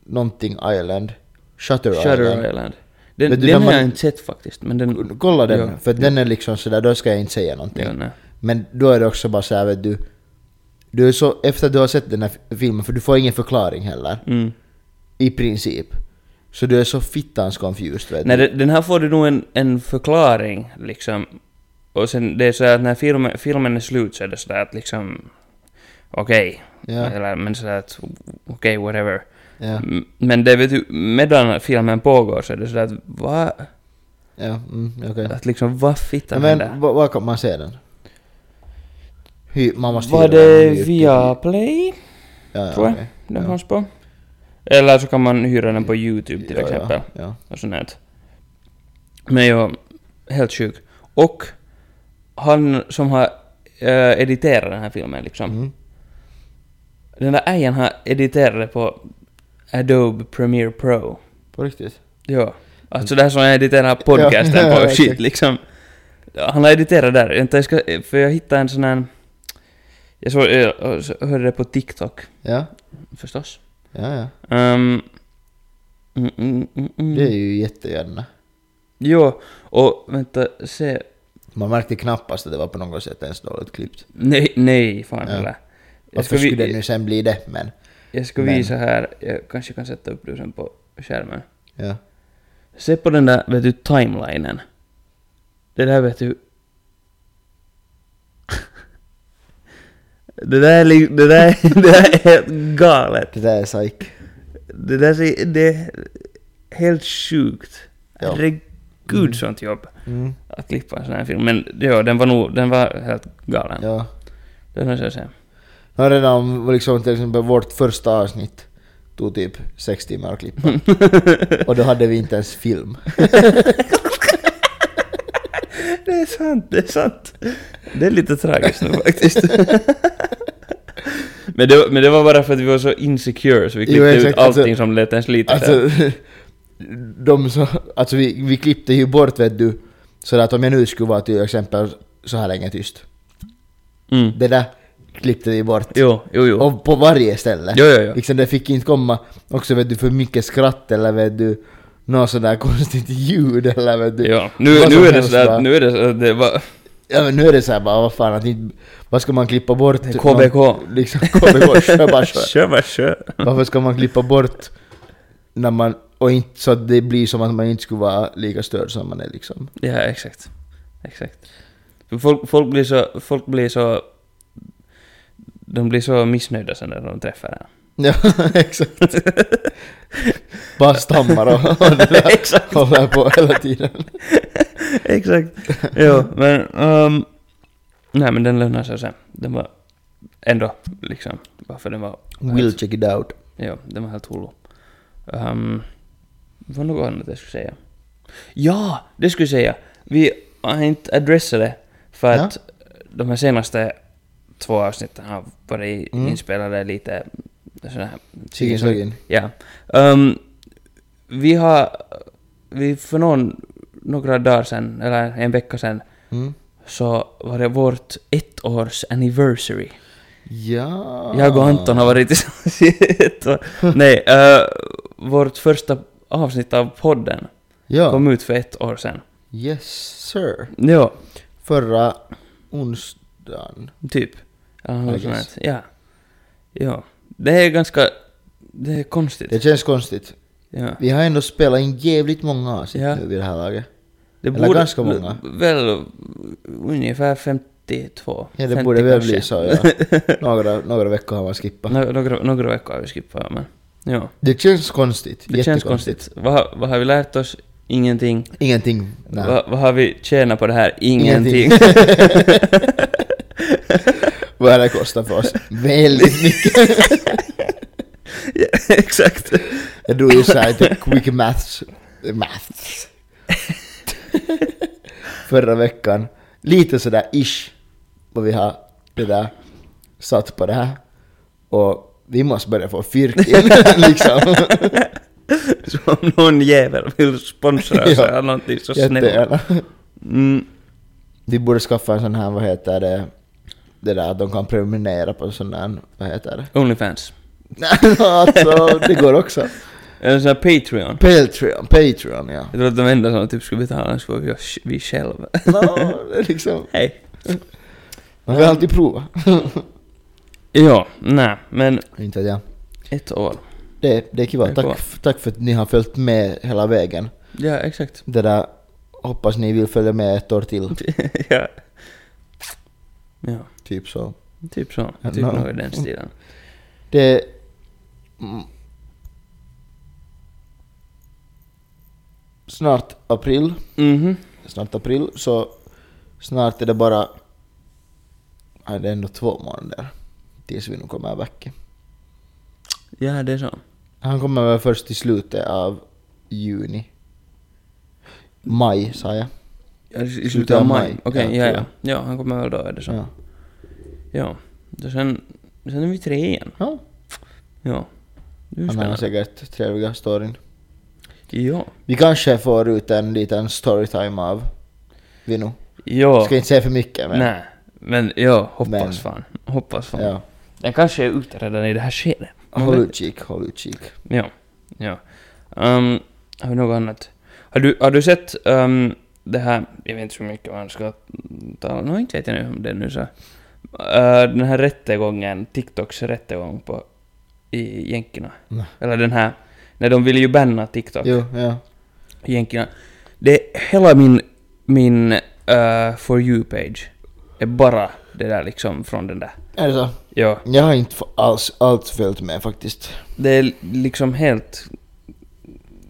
S2: någonting Island. Shutter,
S3: Shutter
S2: Island.
S3: Island. Den,
S2: Vet du,
S3: den
S2: när
S3: har jag
S2: man-
S3: inte sett faktiskt, men den...
S2: Kolla den,
S3: Ja.
S2: för den är liksom sådär, då ska jag inte säga någonting.
S3: Ja, nej.
S2: Men då är det också bara såhär vet du, du är så, efter du har sett den här fi- filmen, för du får ingen förklaring heller.
S3: Mm.
S2: I princip. Så du är så fittans confused vet
S3: Nej,
S2: du.
S3: den den här får du nog en, en förklaring, liksom. Och sen det är så här att när filmen, filmen är slut så är det sådär att liksom... Okej.
S2: Ja.
S3: Eller men sådär att... Okej, whatever.
S2: Ja,
S3: M- Men det vet du, medan filmen pågår så är det sådär att va...
S2: ja, mm, okej.
S3: Att liksom vad fittan
S2: Men
S3: händer?
S2: va- var kan man se den? Hy, man måste
S3: Var
S2: hyra
S3: det
S2: den i-
S3: via Play?
S2: Ja, ja,
S3: tror jag.
S2: okej.
S3: Den
S2: Ja.
S3: fanns på. Eller så kan man hyra den på YouTube Typ till exempel.
S2: Ja, ja, ja.
S3: och sånt där. Men jag helt sjuk. Och han som har eh, editerat den här filmen liksom,
S2: Mm.
S3: Den där ägaren har editerat det på Adobe Premiere Pro.
S2: På riktigt?
S3: Ja. Alltså det här som jag editerar podcasten
S2: Ja,
S3: på
S2: ja,
S3: och shit
S2: exakt.
S3: liksom. Han har editerat där. Vänta, jag ska, för jag hittade en sån här... Jag, såg, jag hörde det på TikTok,
S2: Ja,
S3: förstås.
S2: ja, ja.
S3: Ehm, mm, mm, mm, mm.
S2: Det är ju jättegärna.
S3: Jo, och vänta, se.
S2: Man märkte knappast att det var på något sätt ens dåligt klippt.
S3: Nej, nej, fan
S2: Ja.
S3: heller. Jag ska,
S2: Varför skulle det
S3: vi,
S2: nu sen bli det? Men,
S3: jag ska
S2: Men-
S3: visa här, jag kanske kan sätta upp det sen på skärmen.
S2: ja.
S3: Se på den där, vet du, timelinen. Det där vet du... det där är li- det där, det där är helt galet.
S2: Det där är psyk.
S3: Det där är, det är helt sjukt.
S2: Ja.
S3: Herregud
S2: Mm.
S3: sånt jobb.
S2: Mm.
S3: Att klippa en sån här film. Men ja, den var nog, den var helt galen.
S2: Ja.
S3: Det måste jag säga.
S2: Nu har redan om liksom, till exempel vårt första avsnitt tog typ sex timmar att klippa. Och då hade vi inte ens film.
S3: Det är sant, det är sant. Det är lite tragiskt nu faktiskt. men, det, men det var bara för att vi var så insecure så vi
S2: Jo,
S3: klippte ut
S2: exakt, alltså-
S3: allting som lät ens lite så
S2: Alltså, de som, alltså vi, vi klippte ju bort vet du, så att om jag nu skulle vara till exempel så här länge tyst.
S3: här. mm.
S2: Det där klippte vi bort.
S3: Jo, jo, jo.
S2: Och på varje ställe.
S3: Jo, jo, jo.
S2: Liksom det fick inte komma också vet du för mycket skratt eller vet du något sådär konstigt ljud eller vet du.
S3: Ja, nu,
S2: vad
S3: nu,
S2: som
S3: är det
S2: helst,
S3: så att,
S2: va?
S3: nu är det så att det var...
S2: Ja men nu är det såhär bara vad fan att inte, vad ska man klippa bort?
S3: KBK.
S2: Någon- liksom KBK, kör bara kör.
S3: Kör bara kör.
S2: Varför ska man klippa bort när man, och inte så att det blir som att man inte skulle vara lika störd som man är liksom.
S3: Ja, exakt. Exakt. För Folk, folk blir så... Folk blir så... De blir så missnöjda sen när de träffar en.
S2: Ja, exakt. Bara stammar och, och det där
S3: exakt,
S2: håller på hela tiden.
S3: exakt. Jo, men... ehm, nej, men den lönar sig sen. Den var ändå liksom... Varför den var...
S2: We'll check it out.
S3: Ja, den var helt hullu. Um, vad något annat jag skulle säga? Ja, det skulle jag säga. Vi har inte adressat det för
S2: Ja.
S3: att de här senaste två avsnitten har varit
S2: Mm.
S3: inspelade lite sådär här.
S2: Chicken Soggin.
S3: Ja. Ehm, vi har, vi för någon, några dagar sedan, eller en vecka sedan,
S2: Mm.
S3: så var det vårt ettårs anniversary.
S2: Ja.
S3: Jag och Anton har varit tillsammans i ett år. Nej, eh, vårt första avsnitt av podden
S2: Ja.
S3: kom ut för ett år sedan.
S2: Yes sir.
S3: Ja,
S2: Förra onsdagen.
S3: typ. Eller något
S2: I
S3: sånt
S2: guess.
S3: här. Ja. ja. Det är ganska... Det är konstigt.
S2: Det känns konstigt.
S3: Ja.
S2: Vi har ändå spelat in jävligt många avsnitt
S3: Ja.
S2: nu vid det här laget.
S3: Det
S2: eller ganska många.
S3: Väl ungefär 52.
S2: Ja, det
S3: 50
S2: borde väl
S3: kanske.
S2: bli så ja. Några, några veckor har man skippat.
S3: Nå- Några, några veckor har vi skippat, men... Ja.
S2: Det känns konstigt.
S3: Det känns konstigt. Vad, har- vad har vi lärt oss? Ingenting.
S2: Ingenting. Nej.
S3: Vad, vad har vi tjänat på det här? Ingenting.
S2: Vad har det kostat för oss? Väldigt mycket.
S3: Ja, exakt.
S2: Jag drog ju såhär typ quick maths. Maths. Förra veckan. Lite sådär ish. Vad vi har det där satt på det här. Och vi måste börja få fyrk in liksom.
S3: Så om någon jävel vill sponsra oss
S2: Ja.
S3: eller någonting så snälla.
S2: Jättegärna.
S3: Mm.
S2: Vi borde skaffa en sån här, vad heter det? Det där att de kan prenumerera på sån där, vad heter det?
S3: Onlyfans.
S2: alltså, det går också.
S3: Eller sån här Patreon.
S2: Patreon, Patreon ja.
S3: Jag tror att de enda som typ skulle betala oss var vi, vi själva.
S2: No, det är liksom.
S3: Hej.
S2: Man kan alltid prova.
S3: Ja, nej, men
S2: Inte att jag.
S3: ett år.
S2: Det, det är
S3: Det är
S2: kiva.
S3: bra.
S2: Tack, f- tack för att ni har följt med hela vägen.
S3: Ja, exakt.
S2: Det där, hoppas ni vill följa med ett år till.
S3: ja. ja,
S2: Typ så.
S3: typ så. Typ
S2: No.
S3: något i den stilen.
S2: Det... mm. Snart april. Mm-hmm.
S3: Mhm.
S2: Snart april, så snart är det bara... Nej, det är ändå två månader tills vi nu kommer back.
S3: Ja, det är så.
S2: Han kommer väl först i slutet av juni. Maj sa jag.
S3: Ja, I
S2: Slutet
S3: slutet
S2: av
S3: av maj.
S2: maj.
S3: Okej,
S2: Ja,
S3: ja,
S2: tror
S3: ja.
S2: jag.
S3: Ja, han kommer väl då, är det så.
S2: Ja.
S3: Ja. Och sen Sen är vi tre igen.
S2: Ja.
S3: Ja. Det är ju
S2: Han har
S3: spännande.
S2: säkert trevliga storyn.
S3: Ja.
S2: Vi kanske får ut en liten storytime av Vinu.
S3: Ja.
S2: Ska inte säga för mycket men...
S3: Nej. Men ja, hoppas
S2: Men-
S3: fan. Hoppas fan.
S2: Ja.
S3: Den kanske är ute redan i det här skedet. Man
S2: Håll
S3: vet-
S2: utkik, håll utkik.
S3: Ja, ja. Ehm, har vi något annat? Har du, har du sett ehm, det här, jag vet inte så mycket man ska tala om, inte vet jag nu om det nu så. Eh, den här rättegången, TikToks rättegång på, i jänkerna.
S2: Nej.
S3: Eller den här, när de ville ju banna TikTok
S2: Jo, ja.
S3: i jänkerna. Det, hela min, min eh, For You-page är bara det där liksom från den där.
S2: Är det så?
S3: Ja.
S2: Jag har inte f- alls, alls följt med faktiskt.
S3: Det är liksom helt...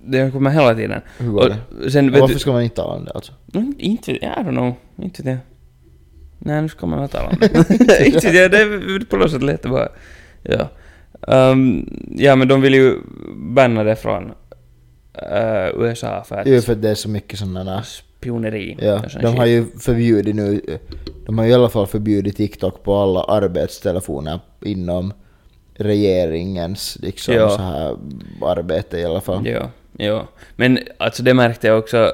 S3: Det kommer hela tiden.
S2: Hur går det?
S3: Och sen vet
S2: Varför
S3: du...
S2: ska man inte tala om det alltså?
S3: Mm, Inte... I don't know. Inte det. Nej, nu ska man inte tala om det. Inte det. Det är på något sätt lite bara... Ja. Ehm, ja, men de vill ju banna det från eh, USA för att...
S2: Jo, för det är så mycket sådana...
S3: Spioneri.
S2: Ja,
S3: och sån
S2: de har
S3: shit.
S2: ju förbjudit nu... De har i alla fall förbjudit TikTok på alla arbetstelefoner inom regeringens liksom
S3: Ja.
S2: så här arbete i alla fall.
S3: Ja, ja. Men alltså det märkte jag också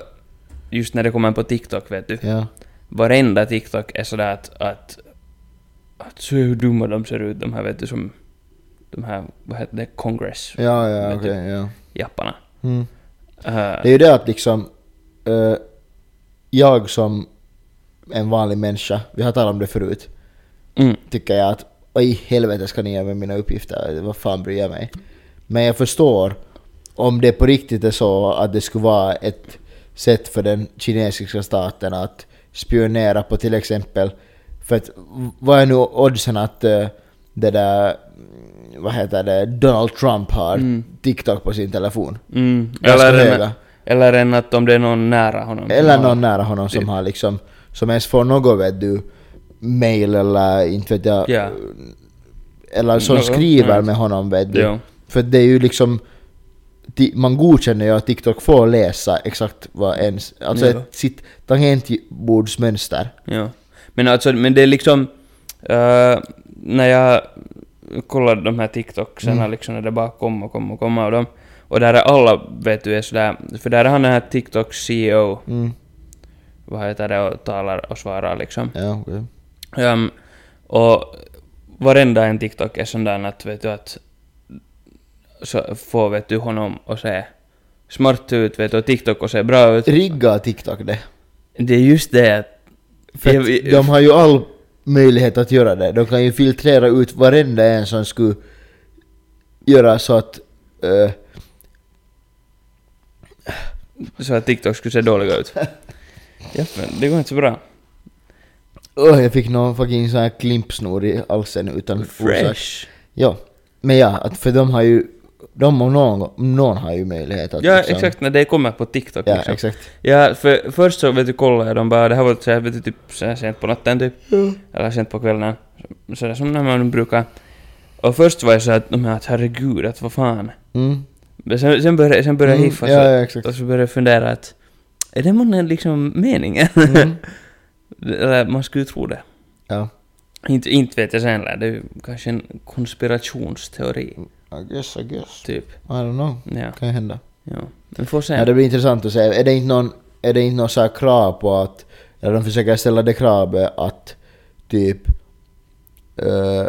S3: just när det kommer på TikTok, vet du.
S2: Ja.
S3: varenda TikTok är sådär att, att, att se hur dumma de ser ut, de här vet du som, de här, vad heter det, Congress,
S2: Ja, ja,
S3: Vet
S2: okej, ja.
S3: japparna.
S2: Mm.
S3: Eh,
S2: Det är ju det att liksom... eh, jag som en vanlig människa, vi har talat om det förut,
S3: mm,
S2: tycker jag att vad i helvete ska ni göra med mina uppgifter? Vad fan bryr jag mig? Men jag förstår om det på riktigt är så att det skulle vara ett sätt för den kinesiska staten att spionera på till exempel för att v- vad är nu oddsen att eh, det där mm, vad heter det, Donald Trump har
S3: Mm.
S2: TikTok på sin telefon?
S3: mm,
S2: Ganska
S3: eller,
S2: höga.
S3: en, eller en att om det är någon nära honom. som
S2: Eller
S3: har-
S2: någon nära honom som har liksom, som ens får något vet du, mail eller inte vet jag,
S3: Ja.
S2: eller som
S3: Något,
S2: skriver
S3: ja.
S2: med honom vet du.
S3: Ja.
S2: För det är ju liksom, ti- man godkänner ju att TikTok får läsa exakt vad ens, alltså
S3: Ja.
S2: ett, sitt tangentbordsmönster.
S3: Ja. Men alltså, men det är liksom... eh, när jag kollade de här TikToksen
S2: Mm.
S3: liksom när det bara kom och kom och kom av dem. Och där är alla, vet du, är sådär... För där är han den här TikTok-CEO,
S2: Mm.
S3: vad heter det, och talar och svarar liksom.
S2: Ja, okej.
S3: Ehm, och varenda en TikTok är sån där att, vet du, att... Så får, vet du, honom att se smart ut, vet du, och TikTok och se bra ut.
S2: Rigga TikTok det.
S3: Det är just det att...
S2: För
S3: Jag-
S2: att
S3: jag-
S2: de har ju all möjlighet att göra det. De kan ju filtrera ut varenda en som skulle göra så att eh,
S3: så att TikTok skulle se dåliga ut. ja, men det går inte så bra.
S2: Åh, jag fick någon fucking sån här klimpsnor i halsen utan orsak.
S3: Fresh.
S2: Ja. Men ja, att för de har ju... De om någon, om någon har ju möjlighet att
S3: Ja,
S2: liksom-
S3: exakt. När det kommer på TikTok
S2: Ja,
S3: liksom.
S2: exakt.
S3: Ja, för först så vet du kollade jag dem bara, det här var så här, vet du, typ så här sent på natten typ. Eller sent på kvällen. Sådär som när man brukar. Och först var jag så att, men att herregud, att vad fan.
S2: Mm.
S3: Men sen, sen började, sen började jag hiffa
S2: Ja,
S3: så,
S2: ja, exakt.
S3: och så började jag fundera att, är det månne liksom meningen?
S2: Mm.
S3: Eller man skulle ju tro det.
S2: Ja.
S3: Inte, inte vet jag sen, eller det är ju kanske en konspirationsteori,
S2: I guess, I guess.
S3: typ.
S2: I don't know.
S3: Ja.
S2: Kan ju hända.
S3: Ja, vi får se.
S2: Ja, det blir intressant att se. Är det inte någon, är det inte någon så här krav på att... Eller de försöker ställa det kravet att typ... eh,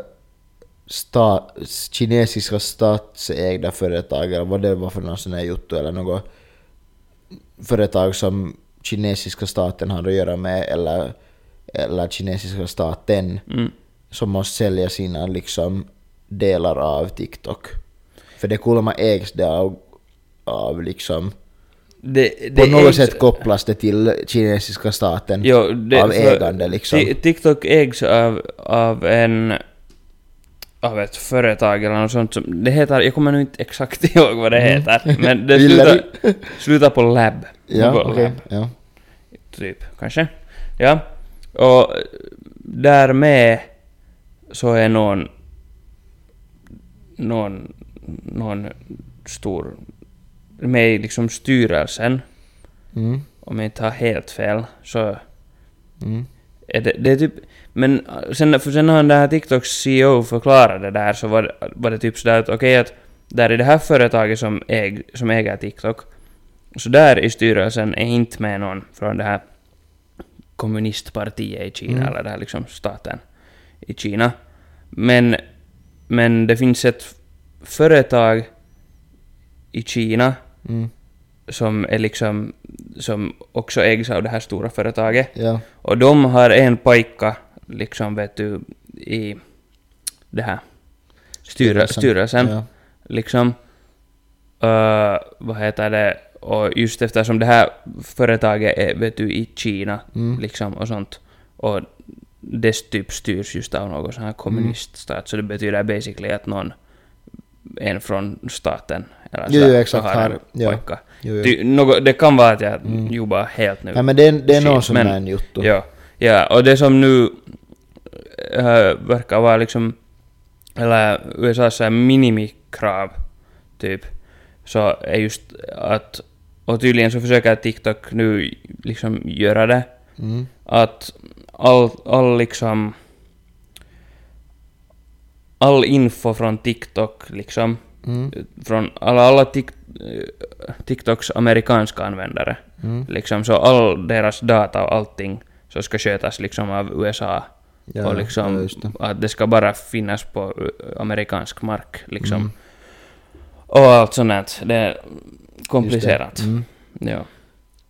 S2: sta, kinesiska statsägda företag eller vad det var för någon sån här jotto eller något företag som kinesiska staten har att göra med eller, eller kinesiska staten
S3: Mm.
S2: som måste sälja sina liksom delar av TikTok. För det kulma ägs det av, av liksom
S3: det, det
S2: på något
S3: ägs-
S2: sätt kopplas det till kinesiska staten
S3: Jo, det-
S2: av
S3: för-
S2: ägande liksom.
S3: Ti- TikTok ägs av, av en... Av ett företag eller något sånt som... Det heter... Jag kommer nu inte exakt ihåg vad det heter. Men det
S2: Mm. Gillar
S3: slutar, slutar på lab.
S2: ja,
S3: Något
S2: okej.
S3: lab,
S2: Ja.
S3: typ, kanske. Ja. Och därmed så är någon... Någon... Någon stor... Med i liksom styrelsen.
S2: Mm.
S3: om jag inte har helt fel, så
S2: Mm.
S3: Är Det, det är typ, men äh, sen, för sen när han den här TikToks CEO förklarade det där så var, det- var det typ sådär att okej att där i det här företaget som, äg, som äger TikTok, så där i styrelsen är inte med någon från det här kommunistpartiet i Kina,
S2: Mm.
S3: eller det här liksom staten i Kina. Men, men det finns ett företag i Kina
S2: Mm.
S3: som är liksom, som också ägs av det här stora företaget.
S2: Ja.
S3: Och de har en pojka, liksom vet du, i det här styre, styrelsen.
S2: Ja.
S3: Liksom, uh, vad heter det, och just eftersom det här företaget är, vet du, i Kina,
S2: Mm.
S3: liksom och sånt. Och dess typ styrs just av någon sån här
S2: Mm.
S3: kommuniststat, så det betyder basically att någon, en från staten, eller
S2: Jo,
S3: sådär,
S2: jo, exakt,
S3: har en
S2: har- ja.
S3: pojka.
S2: Jo, jo.
S3: Ty, något, det kan vara att jag
S2: Mm.
S3: jobbar helt nu.
S2: Nej men det är, det är någon
S3: Shit,
S2: sån
S3: men-
S2: där juttu.
S3: Ja, ja, och det som nu äh, verkar vara liksom, eller USAs så här minimikrav, typ, så är just att, och tydligen så försöker TikTok nu liksom göra det,
S2: Mm.
S3: att all, all liksom, all info från TikTok liksom,
S2: Mm.
S3: från alla, alla tik, eh, TikToks amerikanska användare,
S2: Mm.
S3: Liksom, så all deras data och allting så ska skötas liksom av USA.
S2: Ja,
S3: och
S2: ja,
S3: liksom
S2: just det.
S3: att det ska bara finnas på eh, amerikansk mark. Liksom.
S2: Mm.
S3: Och allt sånt där. Det är komplicerat.
S2: Just det. Mm.
S3: Ja.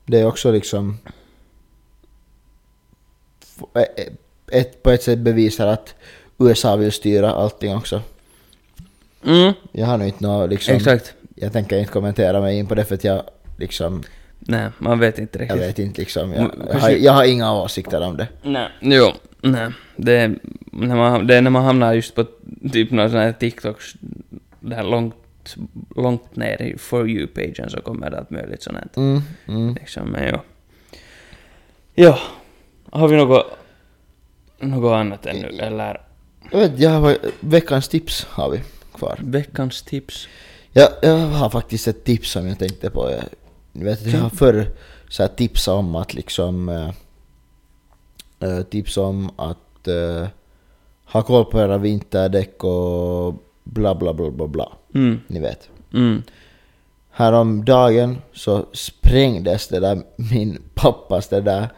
S2: Det är också liksom... f- e- e- Ett, på ett sätt bevisar att USA vill styra allting också.
S3: Mm,
S2: Jag har nu inte något liksom...
S3: Exakt.
S2: Jag tänker inte kommentera mig in på det för att jag liksom...
S3: Nej, man vet inte
S2: Jag
S3: riktigt.
S2: vet inte liksom.
S3: Mm,
S2: Jag, jag, har,
S3: precis.
S2: jag har inga åsikter om det.
S3: Nej, jo. Nej. Det, är när man, det är när man hamnar just på typ någon sån här TikToks, där långt, långt ner i For You-pagen så kommer det allt möjligt sånt här.
S2: Mm, mm.
S3: Liksom, men jo. Ja. Har vi något, något annat ännu? Eller
S2: Jag vet, jag har, veckans tips har vi kvar.
S3: veckans tips?
S2: Jag, jag har faktiskt ett tips som jag tänkte på. Jag, ni vet, jag har förr så här tipsat om att liksom... eh, eh, tips om att eh, ha koll på era vinterdäck och bla bla bla bla bla.
S3: Mm.
S2: Ni vet.
S3: Mm.
S2: Häromdagen så sprängdes det där min pappas det där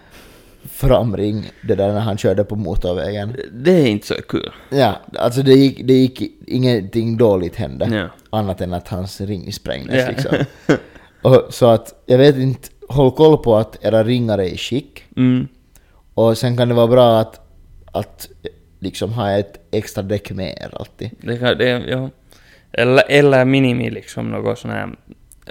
S2: framring, det där när han körde på motorvägen.
S3: Det är inte så kul.
S2: Ja, alltså det gick, det gick ingenting dåligt hände.
S3: Ja.
S2: Annat än att hans ring sprängdes
S3: Ja.
S2: liksom. Och, så att, jag vet inte, håll koll på att era ringar är i skick.
S3: Mm.
S2: Och sen kan det vara bra att, att liksom ha ett extra däck med er alltid.
S3: Det kan, det, ja. eller, eller minimi liksom något sån här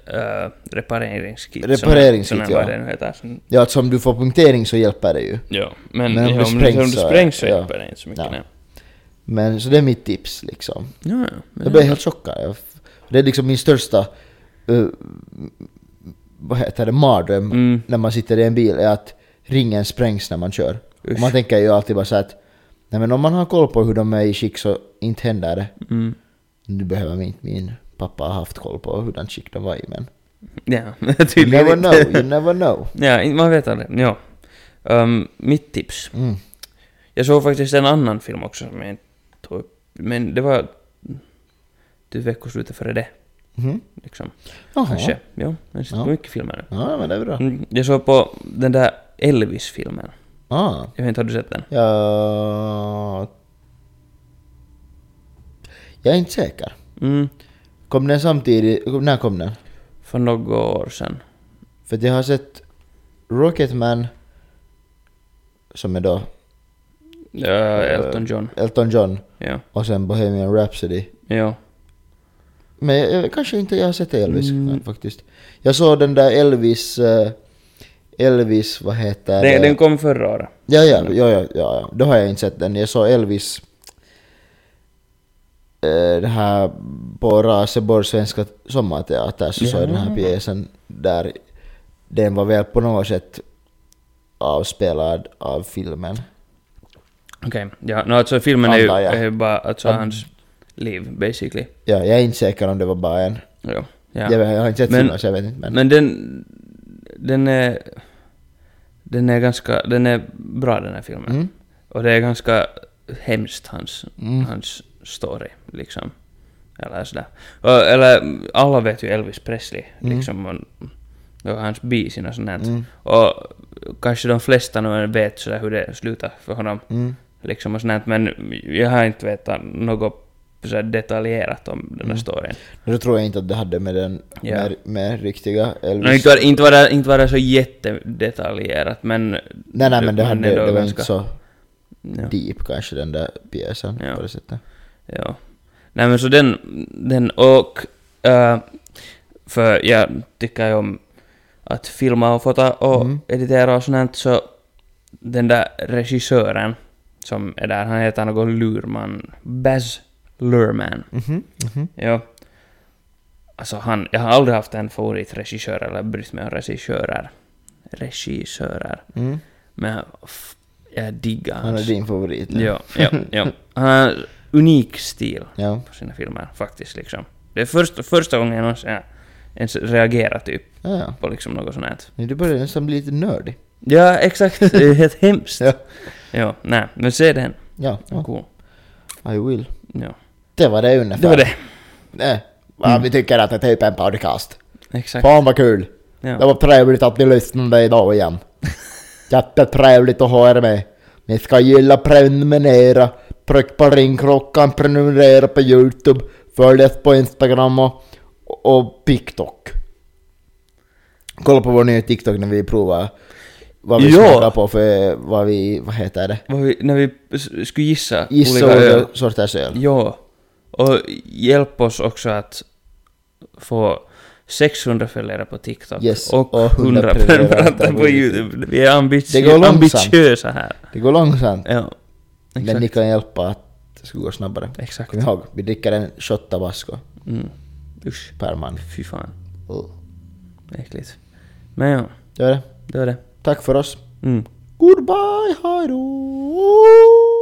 S3: äh, repareringskit. sån här-
S2: Repareringskit,
S3: sån här,
S2: ja.
S3: Vad det nu heter. Sån,
S2: Ja, att som du får punktering så hjälper det ju.
S3: ja. Men,
S2: Men om
S3: ja,
S2: det
S3: om,
S2: sprängs
S3: det, om det
S2: så-
S3: sprängs så
S2: ja.
S3: hjälper det inte så mycket.
S2: Ja.
S3: Nej.
S2: Men så det är mitt tips liksom.
S3: Ja, ja.
S2: Jag
S3: Men,
S2: blev helt chockad. Jag f- Det är liksom min största eh, vad heter det, mardröm
S3: Mm.
S2: när man sitter i en bil är att ringen sprängs när man kör.
S3: Usch.
S2: Och man tänker ju alltid bara så att nej men om man har koll på hur de är i skick så inte händer det.
S3: mm.
S2: Nu behöver inte min pappa ha haft koll på hurdant skick de var i men
S3: Ja,
S2: you
S3: tydligen
S2: never
S3: inte.
S2: know, you never know.
S3: Ja, in- man vet aldrig. Ja. Ehm, mitt tips.
S2: Mm.
S3: Jag såg faktiskt en annan film också som jag inte tog upp. Men det var typ veckoslutet före det.
S2: Mhm.
S3: Liksom.
S2: Jaha.
S3: Kanske. Ja, jag ser
S2: Ja.
S3: på mycket filmer
S2: Ja men det är bra.
S3: nu. Mm, Jag såg på den där Elvis-filmen.
S2: Ah.
S3: Jag vet inte, har du sett den?
S2: Ja... Jag är inte säker.
S3: Mm,
S2: Kom den samtidigt? När kom den?
S3: för några år sedan.
S2: För att jag har sett Rocketman, som är då
S3: Ja, Elton John.
S2: Elton John,
S3: Ja,
S2: och sen Bohemian Rhapsody.
S3: ja.
S2: Men jag, jag, kanske inte jag har sett Elvis
S3: Mm.
S2: nej, faktiskt. Jag såg den där Elvis, eh, Elvis, vad heter
S3: Den, den kom förra året.
S2: Ja, ja, ja, ja, ja, ja, då har jag inte sett den. Jag såg Elvis, eh, det här på Raseborgs svenska sommarteater, så såg jag den här pjäsen där den var väl på något sätt avspelad av filmen.
S3: Okej, ja. No, alltså filmen är ju,
S2: Antar jag.
S3: är ju bara alltså,
S2: Ja.
S3: hans liv, basically.
S2: Ja, jag är inte säker om det var bara en.
S3: Ja. ja.
S2: Jag, vet- jag har inte sett
S3: Men-
S2: filmen så jag vet inte. Men,
S3: Men den... Den är... Den är ganska, den är bra den här filmen.
S2: Mm.
S3: Och det är ganska hemskt hans,
S2: Mm.
S3: hans story liksom. Eller sådär. Och, eller alla vet ju Elvis Presley
S2: Mm.
S3: liksom. Och, och hans bisina och sånt där.
S2: Mm.
S3: Och kanske de flesta nu vet sådär hur det slutar för honom.
S2: Mm.
S3: Liksom och sånt där. Men jag har inte vetat något sådär detaljerat om den här
S2: Mm.
S3: storyn.
S2: Då tror jag inte att det hade med den
S3: Ja.
S2: med, med riktiga Elvis...
S3: No, inte, var, inte, var det, inte var det så jättedetaljerat men...
S2: nej, nej, men det, hade,
S3: ändå
S2: det var
S3: ganska-
S2: inte så
S3: Ja.
S2: deep kanske den där pjäsen
S3: Ja.
S2: på det sättet.
S3: Ja. Nej men så den, den och... eh, för jag tycker ju om att filma och fota och
S2: Mm.
S3: editera och sånt så den där regissören som är där, han heter något Lurman, Baz Lurman.
S2: Mhm, mhm.
S3: Ja. Alltså han, jag har aldrig haft en favoritregissör eller brytt mig om regissörer. Regissörer.
S2: Mm.
S3: Men f- jag diggar
S2: Han är
S3: hans.
S2: din favorit. nu.
S3: Ja, ja, ja. Han har unik stil
S2: ja.
S3: på sina filmer faktiskt liksom. Det är första, första gången jag någonsin har ens reagerar typ
S2: Ja, ja.
S3: på liksom något sånt här.
S2: Nu du börjar nästan bli lite nördig.
S3: Ja, exakt. Det är helt hemskt.
S2: Ja.
S3: Ja, nej, men se den.
S2: Ja, ja,
S3: Cool.
S2: I will.
S3: Ja.
S2: Det var det ungefär.
S3: Det var det.
S2: Nej. Ja, Vi tycker att det är typ en podcast.
S3: Exakt.
S2: Fan vad kul! Det
S3: Ja.
S2: var trevligt att ni lyssnade idag igen. Jättetrevligt att ha er med. Ni ska gilla prenumerera, tryck på ringklockan, prenumerera på Youtube, följ oss på Instagram och, och TikTok. Kolla på vår nya TikTok när vi provar vad vi
S3: Ja.
S2: smakar på för vad vi, vad heter det?
S3: Vad vi, när vi s- skulle gissa
S2: Gissa
S3: olika öl.
S2: olika sorters öl.
S3: Ja. Och hjälp oss också att få 600 följare på TikTok
S2: Yes,
S3: och
S2: och 100
S3: 100 prenumeranter på
S2: på
S3: YouTube. Vi är ambitie-
S2: Det går långsamt.
S3: ambitiösa här.
S2: Det går långsamt,
S3: Ja.
S2: men ni
S3: Exakt.
S2: kan hjälpa att det ska gå snabbare.
S3: Exakt.
S2: Kom ihåg, vi dricker en shot tabasco
S3: Mm. Usch.
S2: per man.
S3: Fy fan.
S2: Oh.
S3: Äckligt. Men ja,
S2: Det var det.
S3: det var det.
S2: Tack för oss.
S3: Mm.
S2: Goodbye, hej då!